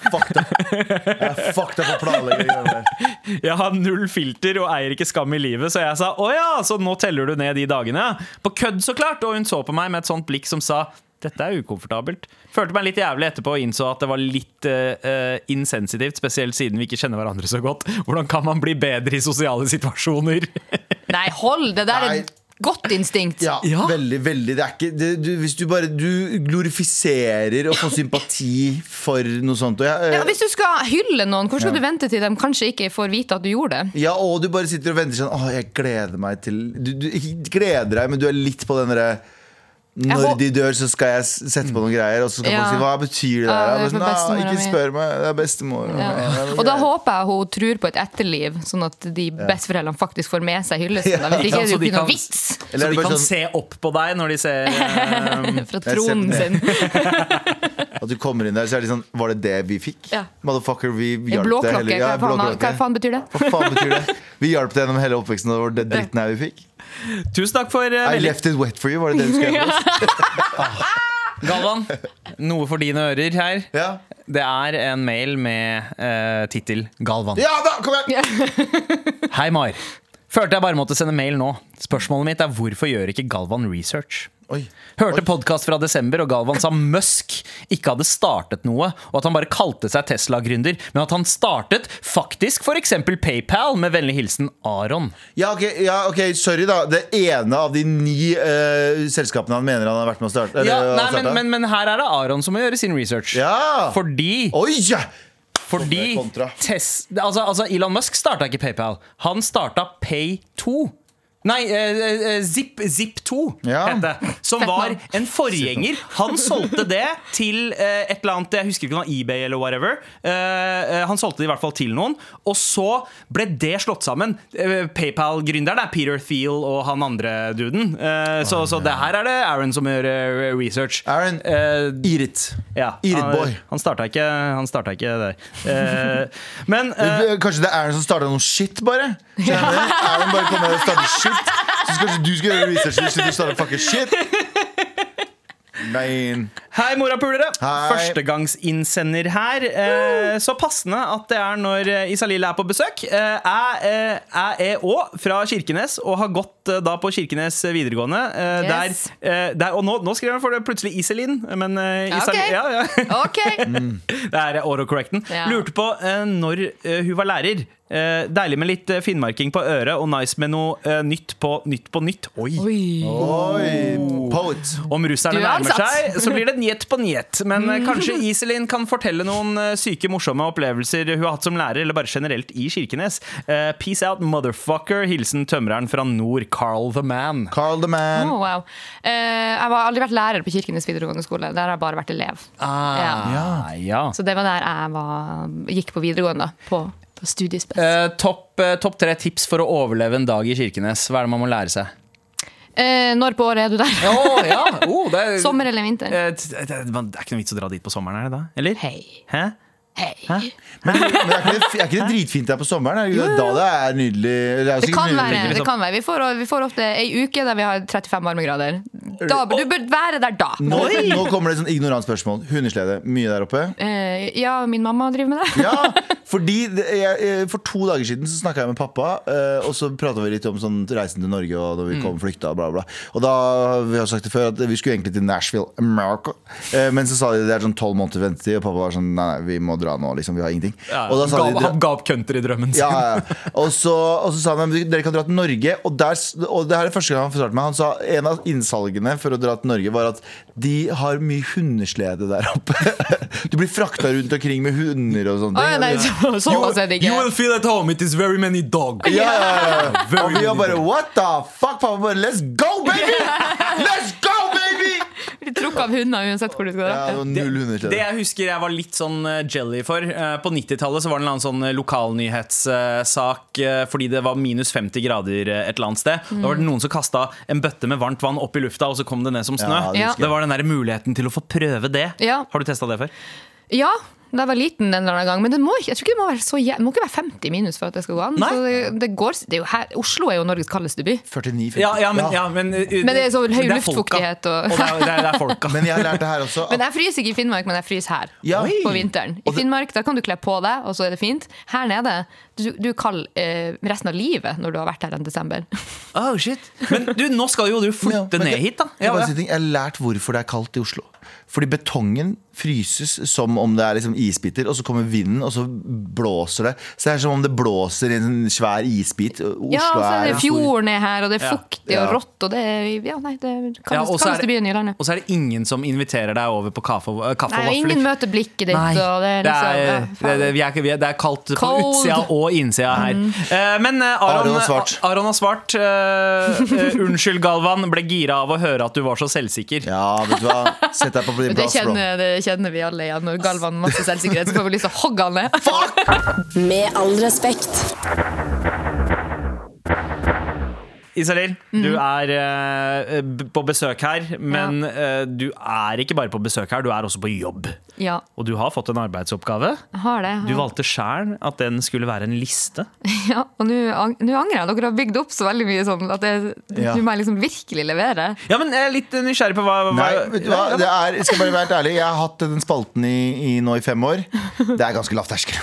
Speaker 2: Fuck deg. Jeg er fucked up på planlegging. av det der.
Speaker 3: jeg har null filter og eier ikke skam i livet, så jeg sa å ja, så nå teller du ned de dagene? På kødd, så klart! Og hun så på meg med et sånt blikk som sa dette er ukomfortabelt. Følte meg litt jævlig etterpå og innså at det var litt eh, eh, insensitivt, spesielt siden vi ikke kjenner hverandre så godt. Hvordan kan man bli bedre i sosiale situasjoner?
Speaker 4: nei, hold! Det der er
Speaker 2: Nei.
Speaker 4: et godt instinkt.
Speaker 2: Ja,
Speaker 3: Ja.
Speaker 2: veldig, veldig. Det er ikke det, du, Hvis du bare Du glorifiserer å få sympati for noe sånt. Og jeg,
Speaker 4: Ja, hvis du skal hylle noen, hvordan skal du vente til de kanskje ikke får vite at du gjorde det?
Speaker 2: Ja, og du bare sitter og venter sånn Åh, jeg gleder meg til Du, du ikke gleder deg, men du er litt på den derre når
Speaker 4: hå-
Speaker 2: de dør, så skal jeg s- sette på noen greier. Og så skal
Speaker 4: Ja.
Speaker 2: folk si 'hva betyr det?'
Speaker 4: Ja,
Speaker 2: der?
Speaker 4: det er
Speaker 2: Jeg bare
Speaker 4: for
Speaker 2: sånn, «Nei,
Speaker 4: bestemora
Speaker 2: ikke
Speaker 4: mi».
Speaker 2: spør meg, det er sånn, bestemor.
Speaker 4: Ja. Og da håper jeg hun tror på et etterliv, sånn at de besteforeldrene faktisk får med seg hyllesten. da. Hvis ikke er det
Speaker 3: så
Speaker 4: jo
Speaker 3: de
Speaker 4: ikke noe
Speaker 3: kan-
Speaker 4: vits
Speaker 2: Eller
Speaker 3: så
Speaker 2: er
Speaker 3: de
Speaker 2: det
Speaker 3: kan
Speaker 2: bare sånn
Speaker 3: se opp på deg når de ser eh.
Speaker 4: fra
Speaker 2: ser på
Speaker 4: tronen
Speaker 2: det.
Speaker 4: sin.
Speaker 2: at du kommer inn der, så er det sånn 'var det det vi fikk?'
Speaker 4: Ja.
Speaker 2: Motherfucker, vi hjalp deg
Speaker 4: Blåklokke,
Speaker 2: heller. Ja,
Speaker 4: hva, faen, hva faen betyr det?
Speaker 2: Hva faen betyr det? Vi hjalp deg gjennom hele oppveksten, og det var den dritten her vi fikk.
Speaker 3: Tusen takk for eh,
Speaker 2: I
Speaker 3: veldig
Speaker 2: left it wet for you, var det det du skrev? på oss?
Speaker 3: Galvan, noe for dine ører her.
Speaker 2: Ja.
Speaker 3: Det er en mail med uh, tittel 'Galvan'.
Speaker 2: ja da, kom igjen!
Speaker 3: Hei, Mar. Følte jeg bare måtte sende mail nå. Spørsmålet mitt er hvorfor gjør ikke Galvan research?
Speaker 2: Oi.
Speaker 3: Hørte podkast fra desember, og Galvan sa Musk ikke hadde startet noe, og at han bare kalte seg Tesla-gründer, men at han startet faktisk f.eks. PayPal, med vennlig hilsen Aron.
Speaker 2: Ja ok, ja, ok, sorry da. Det ene av de ni eh, selskapene han mener han har vært med å starte.
Speaker 3: Ja,
Speaker 2: eller,
Speaker 3: nei,
Speaker 2: har
Speaker 3: men,
Speaker 2: startet.
Speaker 3: men, men her er det Aron som må gjøre sin research.
Speaker 2: Ja!
Speaker 3: Fordi,
Speaker 2: Oi! ja!
Speaker 3: fordi
Speaker 2: kontra.
Speaker 3: Tes, altså, altså, Elon Musk starta ikke PayPal. Han starta Pay2. Nei, eh, eh, Zip, Zip2
Speaker 2: Ja.
Speaker 3: het det. Som
Speaker 4: Fett
Speaker 3: var
Speaker 4: navn.
Speaker 3: en forgjenger. Han solgte det til eh, et eller annet Jeg husker ikke om det var eBay eller whatever. Eh, eh, han solgte det i hvert fall til noen. Og så ble det slått sammen. Eh, PayPal-gründeren er Peter Thiel og han andre duden. Eh, så, så det her er det Aaron som gjør eh, research.
Speaker 2: Aaron,
Speaker 3: Eh,
Speaker 2: Irit.
Speaker 3: ja,
Speaker 2: Eat it,
Speaker 3: han,
Speaker 2: boy.
Speaker 3: Han starta ikke, han starta ikke der. Eh, men eh,
Speaker 2: Kanskje det er Aaron som starta noe shit, bare? Skjønner du? Aaron bare kommer og starter shit. Så kanskje du skal gjøre research hvis du starter fucking shit. Nein.
Speaker 3: Hei, morapulere!
Speaker 2: Hei.
Speaker 3: Førstegangsinnsender her. Eh, så passende at det er når eh, Isalill er på besøk. Eh, jeg, eh, jeg er òg fra Kirkenes og har gått eh, da på Kirkenes videregående. Eh,
Speaker 4: Yes.
Speaker 3: der, eh, der, og nå, nå skriver jeg for det plutselig Iselin, men eh,
Speaker 4: Ja,
Speaker 3: Isal-
Speaker 4: ok.
Speaker 3: ja, ja.
Speaker 4: Ok!
Speaker 3: Det er autocorrecten.
Speaker 4: Ja.
Speaker 3: Lurte på eh, når eh, hun var lærer. Eh, deilig med litt eh, finnmarking på øret og nice med noe eh, nytt på nytt på nytt. Oi!
Speaker 2: Oi, poet.
Speaker 3: Om
Speaker 4: Du
Speaker 3: russerne
Speaker 4: er
Speaker 3: nærmer
Speaker 4: ansatt.
Speaker 3: seg, så blir det njet på njet. Men eh, kanskje Iselin kan fortelle noen eh, syke, morsomme opplevelser hun har hatt som lærer, eller bare generelt i Kirkenes. Eh, peace out, motherfucker. Hilsen tømreren fra nord, Carl the Man.
Speaker 2: Carl the Man.
Speaker 4: Oh, wow. Eh, jeg har aldri vært lærer på Kirkenes videregående skole. Der har jeg bare vært elev. Ja.
Speaker 3: Ah, ja.
Speaker 4: Så det var der jeg var, gikk på videregående. da, På, på studiespes.
Speaker 3: Eh, Topp eh, topp tre tips for å overleve en dag i Kirkenes. Hva er det man må lære seg?
Speaker 4: Eh, når på året er du der?
Speaker 3: Å, ja. Oh, det er,
Speaker 4: Sommer eller vinter?
Speaker 3: Eh, t- det, det, man- det er ikke noe vits å dra dit på sommeren, er det da? Eller?
Speaker 4: Hei.
Speaker 3: Hæ?
Speaker 4: Hei.
Speaker 2: Men, men er, ikke det, er ikke det dritfint der på sommeren? Er det ikke det? Da det er nydelig. Det, er jo
Speaker 4: Det
Speaker 2: sikkert
Speaker 4: kan
Speaker 2: nydelig.
Speaker 4: være. det kan være Vi får, vi får ofte ei uke der vi har 35 varmegrader. Da, du bør være der da.
Speaker 2: Nå, nå kommer det et sånn ignorant spørsmål. Hundeslede, mye der oppe?
Speaker 4: Eh, ja, min mamma driver med det.
Speaker 2: Ja, fordi det- jeg, jeg- For to dager siden så snakka jeg med pappa, eh, og så prata vi litt om sånn reisen til Norge og
Speaker 4: Mm.
Speaker 2: når vi kom flykta og bla, bla. Og da vi har sagt det før at vi skulle egentlig til Nashville, America. Eh, Men så sa de det er sånn tolv måneder ventetid, og pappa var sånn nei, nei, vi må dra nå, liksom. Vi har ingenting. Og da sa
Speaker 3: Ga-
Speaker 2: de
Speaker 3: Han ga opp countrydrømmen sin.
Speaker 2: ja, ja. ja. Og, så, og så sa han "Men dere kan dra til Norge. Og, der, s- og det her er første gang han fortalte meg Han sa en av innsalgene Britene for å dra til Norge, var at de har mye hundeslede der oppe. Du blir frakta rundt omkring med hunder og sånne
Speaker 4: Å, ja, nei,
Speaker 2: ting.
Speaker 4: så, såpass er det ikke.
Speaker 3: feel at home. It is very many dog.
Speaker 2: Ja, ja, ja. Og vi var bare What the fuck, pappa? Bare, Let's go, baby! Let's go, baby!
Speaker 4: Blir trukket av hunder uansett hvor du skal
Speaker 2: Ja, det
Speaker 4: dra.
Speaker 2: var null
Speaker 3: Det
Speaker 2: hundeslede.
Speaker 3: jeg husker jeg var litt sånn eh, jelly for. eh, På 90-tallet så var det en eller annen sånn eh, lokalnyhetssak eh, fordi det var minus 50 grader eh, et eller annet sted. Da var det noen som kasta en bøtte med varmt vann opp i lufta, og så kom det ned som snø.
Speaker 2: Ja,
Speaker 4: det
Speaker 3: det,
Speaker 4: Ja. husker jeg.
Speaker 3: var den der muligheten til å få prøve det.
Speaker 4: Ja.
Speaker 3: Har du testa det før?
Speaker 4: Ja, da jeg var liten en eller annen gang. Men det må, ikke- jeg tror ikke det må være så jæv- det må ikke være 50 minus for at det skal gå an.
Speaker 3: Nei.
Speaker 4: Så det, det går, det er jo her, Oslo er jo Norges kaldeste by.
Speaker 2: 49, 50.
Speaker 3: Ja, ja, men, ja, men, eh,
Speaker 4: Men det er så høy
Speaker 3: men det er
Speaker 4: luftfuktighet
Speaker 3: folka.
Speaker 4: og-
Speaker 3: og det, er, det, er, det er folka.
Speaker 2: Men jeg har lært det her også.
Speaker 4: Men
Speaker 2: At,
Speaker 4: jeg fryser ikke i Finnmark, men jeg fryser her.
Speaker 2: Ja.
Speaker 4: På
Speaker 2: Oi.
Speaker 4: vinteren. I
Speaker 2: Og det-
Speaker 4: Finnmark da kan du kle på deg, og så er det fint. Her nede du, du er kald eh, resten av livet når du har vært her en desember.
Speaker 3: Oh, shit. Men du, nå skal jo du
Speaker 2: Ja,
Speaker 3: flytte
Speaker 2: men
Speaker 3: ned
Speaker 2: jeg-
Speaker 3: hit, da.
Speaker 2: Jeg,
Speaker 3: Ja,
Speaker 2: bare
Speaker 3: ja.
Speaker 2: sier ting. jeg har lært hvorfor det er kaldt i Oslo. Fordi betongen fryses som om det er liksom isbiter, og så kommer vinden, og så blåser det. Så det er som om det blåser i en svær isbit. Oslo
Speaker 4: ja, og så er
Speaker 2: er
Speaker 4: det fjorden er her, og det er
Speaker 3: Ja.
Speaker 4: fuktig og
Speaker 2: Ja.
Speaker 4: rått, og det er ja, nei, det er
Speaker 3: Ja, og
Speaker 4: kaldeste
Speaker 3: så er
Speaker 4: kaldeste
Speaker 3: det-
Speaker 4: byen i landet.
Speaker 3: Og så er det ingen som inviterer deg over på kaffe og, kaffe
Speaker 4: Nei,
Speaker 3: og
Speaker 4: og
Speaker 3: vafler.
Speaker 4: ingen møter blikket ditt,
Speaker 3: Nei,
Speaker 4: og det er liksom ja,
Speaker 3: det,
Speaker 4: faen.
Speaker 3: det, vi er, ikke- vi er, det er kaldt på
Speaker 4: Cold. Mhm.
Speaker 3: utsida og innsida her. Eh, men eh, Aron,
Speaker 2: Aron har svart.
Speaker 3: Aron har svart. eh, eh, unnskyld, Galvan. Ble gira av å høre at du var så selvsikker.
Speaker 2: Ja, vet du hva. Sett deg på din
Speaker 4: det,
Speaker 2: plass, bro.
Speaker 4: kjenner, det kjenner vi alle igjen. Når Galvan masse selvsikkerhet, så får vi lyst til å hogge han ned.
Speaker 1: Med all respekt.
Speaker 3: Isalill,
Speaker 4: Mhm.
Speaker 3: du er eh, b- på besøk her, men eh, du er ikke bare på besøk her, du er også på jobb.
Speaker 4: Ja,
Speaker 3: Og du har fått en arbeidsoppgave.
Speaker 4: jeg har det.
Speaker 3: Du valgte sjæl at den skulle være en liste.
Speaker 4: Ja, og nå ang- nå angrer jeg. Dere har bygd opp så veldig mye sånn at jeg-
Speaker 2: Ja.
Speaker 4: nå må jeg liksom virkelig levere.
Speaker 3: Ja, men jeg er litt nysgjerrig på hva, hva
Speaker 2: Nei, vet du hva? Det er, jeg skal bare være helt ærlig Jeg har hatt den spalten i, i nå i fem år Det er ganske lav terskel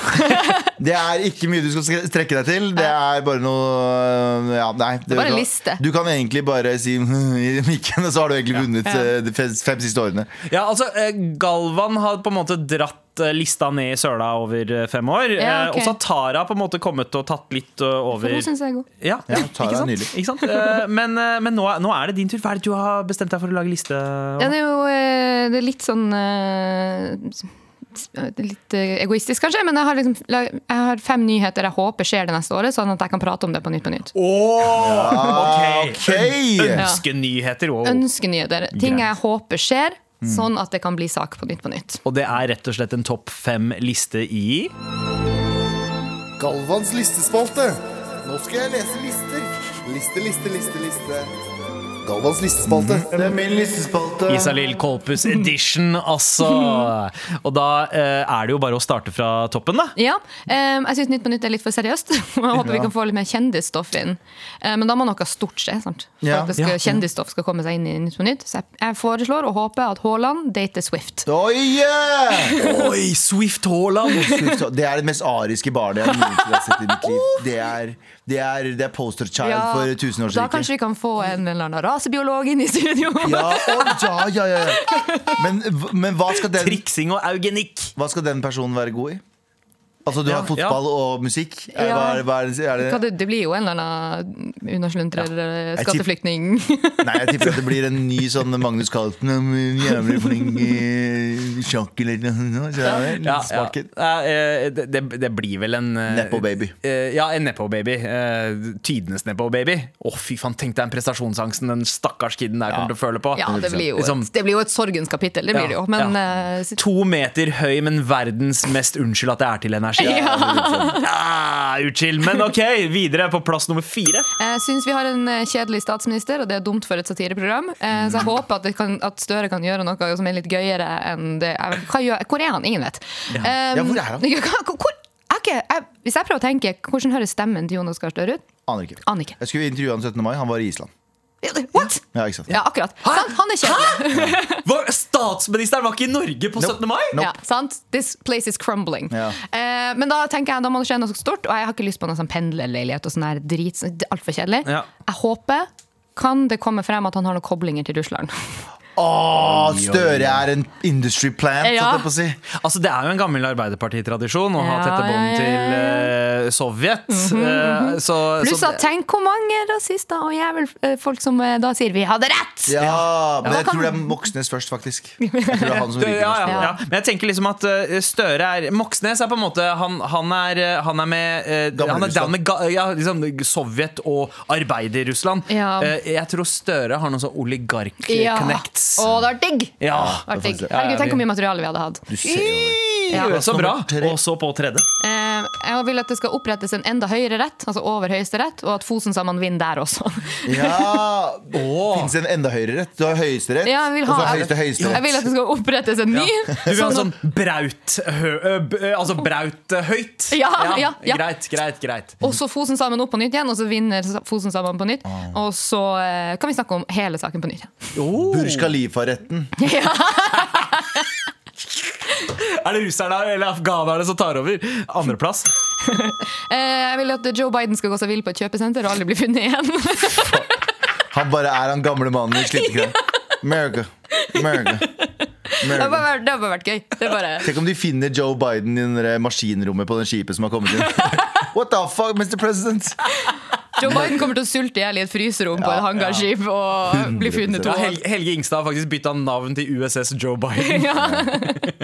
Speaker 2: Det er ikke mye du skal stre- strekke deg til Det er bare noe ja, nei, det,
Speaker 4: er bare
Speaker 2: vet du
Speaker 4: en
Speaker 2: hva.
Speaker 4: liste.
Speaker 2: Du kan egentlig bare si «Hm» i mikken Og så har du egentlig vunnet eh, de fem, fem siste årene
Speaker 3: Ja, altså, eh, Galvan har på en måte dratt eh, lista ned i søla over eh, fem år.
Speaker 4: Ja,
Speaker 3: eh,
Speaker 4: ok.
Speaker 3: Og så har Tara på en måte kommet og tatt litt eh,
Speaker 4: For
Speaker 3: over.
Speaker 4: hun syns jeg er god.
Speaker 3: Ja,
Speaker 2: Ja, Tara
Speaker 3: ikke
Speaker 2: er
Speaker 3: sant?
Speaker 2: nydelig.
Speaker 3: Ikke sant? Eh, Men, eh, men nå, er- nå er det din tur. Hva er det du har bestemt deg for å lage liste? om?
Speaker 4: Ja, det er jo eh, det er litt sånn eh, s- det er Litt eh, egoistisk, kanskje, men jeg har, liksom, la- jeg har fem nyheter jeg håper skjer det neste året, sånn at jeg kan prate om det på Nytt på Nytt.
Speaker 3: Åh, ok.
Speaker 2: Ah, ok.
Speaker 3: Øn- Ønskenyheter. Wow.
Speaker 4: Ønskenyheter. Ting
Speaker 3: Greit.
Speaker 4: jeg håper skjer, sånn at det kan bli sak på Nytt på Nytt.
Speaker 3: Og det er rett og slett en topp fem-liste i
Speaker 9: Galvans listespalte. Nå skal jeg lese lister. Liste, liste, liste, liste. Galvans listespalte.
Speaker 2: Mm. Det er min listespalte
Speaker 3: Isalill Kolpus edition, altså. Og da eh, er det jo bare å starte fra toppen, da.
Speaker 4: Ja, em, Jeg syns Nytt på Nytt er litt for seriøst. og Jeg håper vi kan få litt mer kjendisstoff inn. Eh, Men da må noe stort skje. sant? For
Speaker 2: Ja.
Speaker 4: at det skal,
Speaker 3: Ja.
Speaker 4: kjendisstoff skal komme seg inn i Nytt på Nytt. Så jeg, jeg foreslår og håper at Haaland dater Swift.
Speaker 2: Oi, yeah!
Speaker 3: Oi, Swift Haaland!
Speaker 2: Det er det mest ariske barnet jeg noensinne har sett i mitt liv Det er, det er, det er poster child for
Speaker 4: da
Speaker 2: tusenårsriket
Speaker 4: kanskje vi kan få en eller annen rasebiolog inn i studio.
Speaker 2: ja, å, ja, ja, ja Men, men hva skal den
Speaker 3: Triksing og eugenikk.
Speaker 2: Hva skal den personen være god i? Altså Du
Speaker 3: Ja,
Speaker 2: har fotball og musikk. Er,
Speaker 4: Ja.
Speaker 2: hva er, hva er, er
Speaker 4: Hva,
Speaker 2: det?
Speaker 4: det, det blir jo en eller annen unnasluntrer, eh,
Speaker 2: Jeg tipp-
Speaker 4: skatteflyktning
Speaker 2: Nei, Jeg tipper at det blir en ny sånn Magnus Carlsen. mm, Jævlig flink i sjakk eller noe. sånt. Skjønner du?
Speaker 3: Ja, ja.
Speaker 2: Sparken.
Speaker 3: Ja, eh, det, det- det blir vel en eh,
Speaker 2: Nepo-baby.
Speaker 3: eh, Ja, en Nepo-baby. Eh, Tidenes Nepo-baby. Å, fy faen, tenk deg den prestasjonsangsten den stakkars kiden der kommer til å føle på.
Speaker 4: Ja, det blir jo
Speaker 3: Liksom,
Speaker 4: et, det blir jo et sorgens kapittel. Det blir det jo. Men eh, sitt-
Speaker 3: To meter høy, men verdens mest unnskyld at det er til energi.
Speaker 2: sånn.
Speaker 3: Ah, utskill. Men ok, videre på plass nummer fire.
Speaker 4: Jeg syns vi har en eh, kjedelig statsminister, og det er dumt for et satireprogram. Eh, Så jeg
Speaker 2: Mm.
Speaker 4: håper at, det kan, at Støre kan gjøre noe som er litt gøyere enn det jeg- Hva gjør, Hvor er han? Ingen vet. Um,
Speaker 2: Ja, hvor er han?
Speaker 4: Hva, hvor, jeg, er ikke- jeg, hvis jeg prøver å tenke, hvordan høres stemmen til Jonas Gahr Støre ut?
Speaker 2: Aner ikke.
Speaker 4: Aner ikke.
Speaker 2: Jeg skulle intervjue han 17. mai. Han var i Island.
Speaker 4: What?!
Speaker 2: Ja, ikke sant?
Speaker 4: Ja, akkurat. Sant? Han er kjedelig.
Speaker 3: Var, statsministeren var ikke i Norge på 17. mai?
Speaker 2: Nope.
Speaker 4: Ja, sant? This place is crumbling.
Speaker 2: Ja.
Speaker 4: Eh, men da tenker jeg, da må det skje noe stort, og jeg har ikke lyst på noe sånn pendlerleilighet og sånn her drit. sånn- Det er altfor kjedelig.
Speaker 3: Ja.
Speaker 4: Jeg håper kan det komme frem at han har noen koblinger til Russland?
Speaker 2: Å, Støre er en industry plant,
Speaker 4: Ja.
Speaker 2: holdt jeg på å si.
Speaker 3: Altså, Det er jo en gammel Arbeiderpartitradisjon å ha
Speaker 4: Ja,
Speaker 3: tette bånd
Speaker 4: ja, ja, ja.
Speaker 3: til eh, Sovjet. eh, så,
Speaker 4: Pluss
Speaker 2: Altså,
Speaker 3: så
Speaker 4: at tenk hvor mange rasister og jævel eh, folk som eh, da sier 'vi hadde rett'!
Speaker 2: Ja, men
Speaker 4: Ja.
Speaker 2: jeg tror det er Moxnes først, faktisk. Jeg tror det er han som
Speaker 3: Det-
Speaker 2: ryker
Speaker 3: ja,
Speaker 2: først.
Speaker 3: ja,
Speaker 4: Ja.
Speaker 3: ja. Men jeg tenker liksom at eh, Støre er Moxnes er på en måte Han, han, er, eh, han er med eh,
Speaker 2: Gamle
Speaker 3: Han er
Speaker 2: Russland.
Speaker 3: down med ga, ja, liksom, Sovjet og Arbeider-Russland.
Speaker 4: Ja.
Speaker 3: Eh, jeg tror Støre har noen sånn oligark-connects.
Speaker 4: Å, det var digg!
Speaker 3: Ja.
Speaker 4: Det var digg.
Speaker 2: faktisk-
Speaker 4: Herregud, tenk
Speaker 3: vi-
Speaker 4: hvor mye materiale vi hadde hatt.
Speaker 2: Du ser jo
Speaker 4: Ja.
Speaker 3: Så bra.
Speaker 2: Nummer tre.
Speaker 3: Og så på tredje.
Speaker 4: Eh, Jeg vil at det skal opprettes en enda høyere rett, altså over høyesterett, og at Fosen-samene vinner der også.
Speaker 2: Ja! Fins det en enda høyere rett? Du har høyesterett,
Speaker 4: Ja, jeg, vil
Speaker 2: og så
Speaker 4: ha,
Speaker 2: Altså høyeste
Speaker 4: jeg vil at
Speaker 2: høyesterett.
Speaker 4: det skal opprettes en ny.
Speaker 3: Du vil ha
Speaker 4: sånn at-
Speaker 3: sånn braut hø, ø, b, ø, Altså braut ø, høyt.
Speaker 4: Ja, ja, ja.
Speaker 3: Greit, greit, greit.
Speaker 4: Og så Fosen sammen opp på nytt igjen, og så vinner Fosen sammen på nytt.
Speaker 2: Ah.
Speaker 4: Og så eh, kan vi snakke om hele saken på nytt. igjen.
Speaker 2: Burj Khalifa-retten.
Speaker 3: Er det russerne eller afghanerne som tar over? Andreplass.
Speaker 4: Eh, jeg vil at Joe Biden skal gå seg vill på et kjøpesenter og aldri bli funnet igjen.
Speaker 2: Han bare er han gamle mannen i slitekrem. America. America.
Speaker 4: det har
Speaker 2: America.
Speaker 4: bare vært, det har bare vært gøy. Det er bare...
Speaker 2: Tenk om de finner Joe Biden i den der maskinrommet på den skipet som har kommet inn. What the fuck, Mr. President?
Speaker 4: Joe Biden kommer til å sulte i hjel i et fryserom på et hangarskip og bli funnet
Speaker 3: Ja,
Speaker 4: to
Speaker 3: Hel Helge Ingstad har faktisk bytta navn til USS Joe Biden.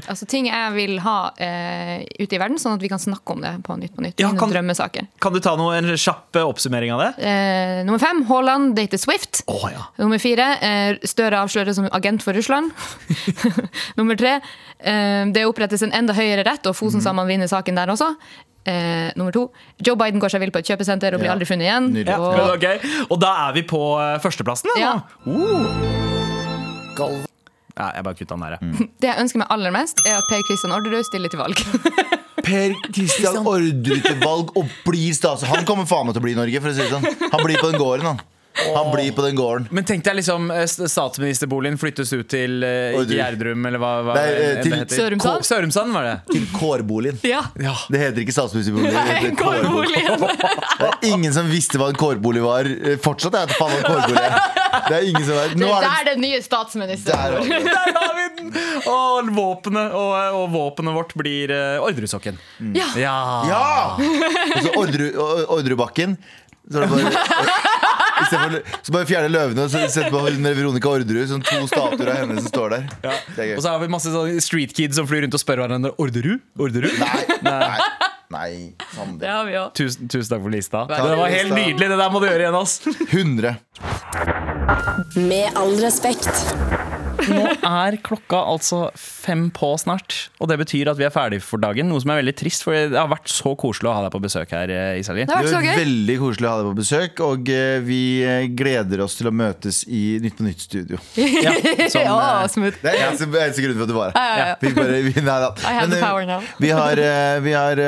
Speaker 4: Altså Ting jeg vil ha eh, ute i verden, sånn at vi kan snakke om det på nytt på nytt.
Speaker 3: Ja,
Speaker 4: Mine
Speaker 3: kan-
Speaker 4: drømmesaker.
Speaker 3: Kan du ta noe, en kjapp eh, oppsummering av det?
Speaker 4: Eh, nummer fem Haaland dater Swift.
Speaker 3: Å ja.
Speaker 4: Nummer fire eh, Støre avsløres som agent for Russland. nummer tre eh, Det opprettes en enda høyere rett, og Fosen sammen vinner saken der også. Eh, nummer to Joe Biden går seg vill på et kjøpesenter og blir
Speaker 2: Ja.
Speaker 4: aldri funnet igjen.
Speaker 2: Nydelig.
Speaker 3: Men
Speaker 4: Og,
Speaker 3: ok, Og da er vi på eh, førsteplassen, da?
Speaker 4: Ja.
Speaker 3: nå? Uh. Ja, jeg bare kutta den der, jeg.
Speaker 4: det jeg ønsker meg aller mest, er at Per Kristian Orderud stiller til valg.
Speaker 2: Per Kristian ordrer til valg og blir stas. Han kommer faen meg til å bli i Norge, for å si det sånn. Han blir på den gården, han. Han blir på den gården.
Speaker 3: Men tenk deg liksom eh, st- statsministerboligen flyttes ut til eh,
Speaker 2: Oi, du.
Speaker 3: ikke Gjerdrum, eller hva, hva
Speaker 2: Nei, eh,
Speaker 3: enn
Speaker 2: til-
Speaker 3: det heter.
Speaker 4: Sørumsand?
Speaker 3: Ko- Sørumsand var det.
Speaker 2: Til kårboligen.
Speaker 4: ja.
Speaker 3: Ja.
Speaker 2: Det heter ikke statsministerbolig. Det
Speaker 4: Nei,
Speaker 2: heter kårbolig. Det er ingen som visste hva en kårbolig var. Eh, Fortsatt er det faen hva en kårbolig er. Det er ingen som vet.
Speaker 4: Det
Speaker 2: Nå
Speaker 4: er
Speaker 2: er det
Speaker 4: der den nye
Speaker 2: Der var
Speaker 4: statsministeren bor.
Speaker 2: det.
Speaker 3: Der har vi den! Og våpenet, og, eh, og våpenet vårt blir uh, Orderudsokken.
Speaker 4: Ja.
Speaker 3: Ja.
Speaker 2: Ja! Og så Ordru- Å- Orderudbakken. Så er det bare i stedet for, så bare fjerne løvene og så setter man hun der Veronica Orderud. Sånn to statuer av henne som står der. Det er
Speaker 3: Og
Speaker 2: gøy.
Speaker 3: så har vi masse sånne street kids som flyr rundt og spør hverandre Orderud? Orderud?
Speaker 2: Nei, nei, nei. Samme
Speaker 4: Det
Speaker 2: det.
Speaker 4: har vi òg.
Speaker 3: Tusen, tusen takk for lista.
Speaker 4: Vær så
Speaker 3: Det var
Speaker 2: god.
Speaker 3: helt nydelig. Det der må du gjøre igjen. ass
Speaker 2: 100.
Speaker 1: Med all respekt.
Speaker 3: Nå er klokka altså fem på snart, og det betyr at vi er ferdig for dagen. Noe som er veldig trist, for det har vært så koselig å ha deg på besøk her. eh, Iselin.
Speaker 4: Det har
Speaker 2: Det
Speaker 4: vært så
Speaker 2: var
Speaker 4: gøy.
Speaker 2: veldig koselig å ha deg på besøk, og eh, vi eh, gleder oss til å møtes i Nytt på Nytt-studio.
Speaker 3: Ja, som,
Speaker 4: Ja,
Speaker 3: eh,
Speaker 4: smooth.
Speaker 2: Det er eneste, eneste grunn for at du var
Speaker 4: ja, ja.
Speaker 2: her. Vi bare, vi, nei, da.
Speaker 4: I have
Speaker 2: Men,
Speaker 4: the
Speaker 2: eh,
Speaker 4: power now.
Speaker 2: vi har, eh, vi har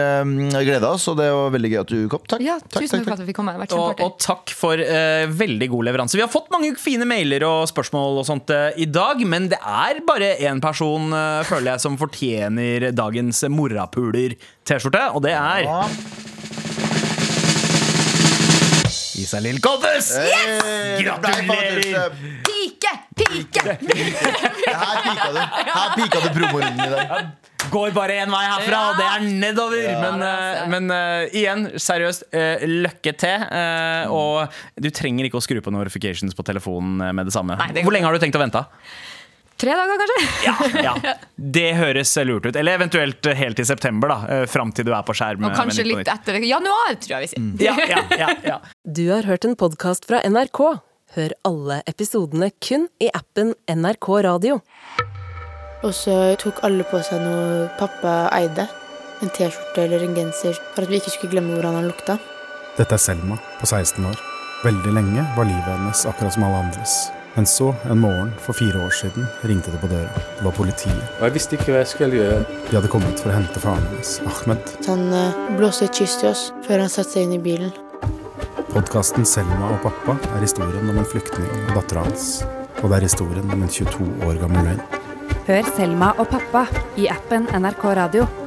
Speaker 2: gleda oss, og det var veldig gøy at du kom. Takk.
Speaker 4: Ja,
Speaker 2: takk, takk,
Speaker 4: tusen takk for
Speaker 2: takk.
Speaker 4: at vi fikk komme. Det har vært
Speaker 3: og,
Speaker 4: kjempeartig.
Speaker 3: og takk for eh, veldig god leveranse. Vi har fått mange fine mailer og spørsmål og sånt eh, i dag, men det er bare én person, eh, føler jeg, som fortjener dagens morapuler-T-skjorte, og det er
Speaker 2: Ja.
Speaker 3: Isalill Kottes!
Speaker 2: Hey,
Speaker 3: Gratulerer!
Speaker 4: Pike! Pike!
Speaker 2: Her pika du, her pika du promorunden i dag.
Speaker 3: Går bare én vei herfra, og det er nedover. Men,
Speaker 4: altså-
Speaker 3: eh, men eh, igjen, seriøst, eh, lykke til. eh, og du trenger ikke å skru på notifications på telefonen eh, med det samme.
Speaker 4: det går
Speaker 3: Hvor lenge har du tenkt å vente?
Speaker 4: Tre dager, kanskje?
Speaker 3: Ja, Det høres lurt ut. Eller eventuelt helt til september, da. eh, Fram til du er på skjerm.
Speaker 4: Og kanskje litt etter det. Januar, tror jeg vi
Speaker 2: Mm.
Speaker 4: sier.
Speaker 3: Ja, ja, ja, ja.
Speaker 1: Du har hørt en podkast fra NRK. Hør alle episodene kun i appen NRK Radio.
Speaker 10: Og så tok alle på seg noe pappa eide. En T-skjorte eller en genser for at vi ikke skulle glemme hvordan han lukta.
Speaker 11: Dette er Selma på 16 år. Veldig lenge var livet hennes akkurat som alle andres. Men så, en morgen for fire år siden, ringte det på døra. Det var politiet.
Speaker 12: Og jeg visste ikke hva jeg skulle gjøre.
Speaker 11: De hadde kommet for å hente faren hennes, Ahmed.
Speaker 10: Så han eh, blåste et kyss til oss før han satte seg inn i bilen.
Speaker 11: Podkasten 'Selma og pappa' er historien om en flyktning og dattera hans. Og det er historien om en 22 år gammel løgn.
Speaker 13: Hør Selma og pappa i appen NRK Radio.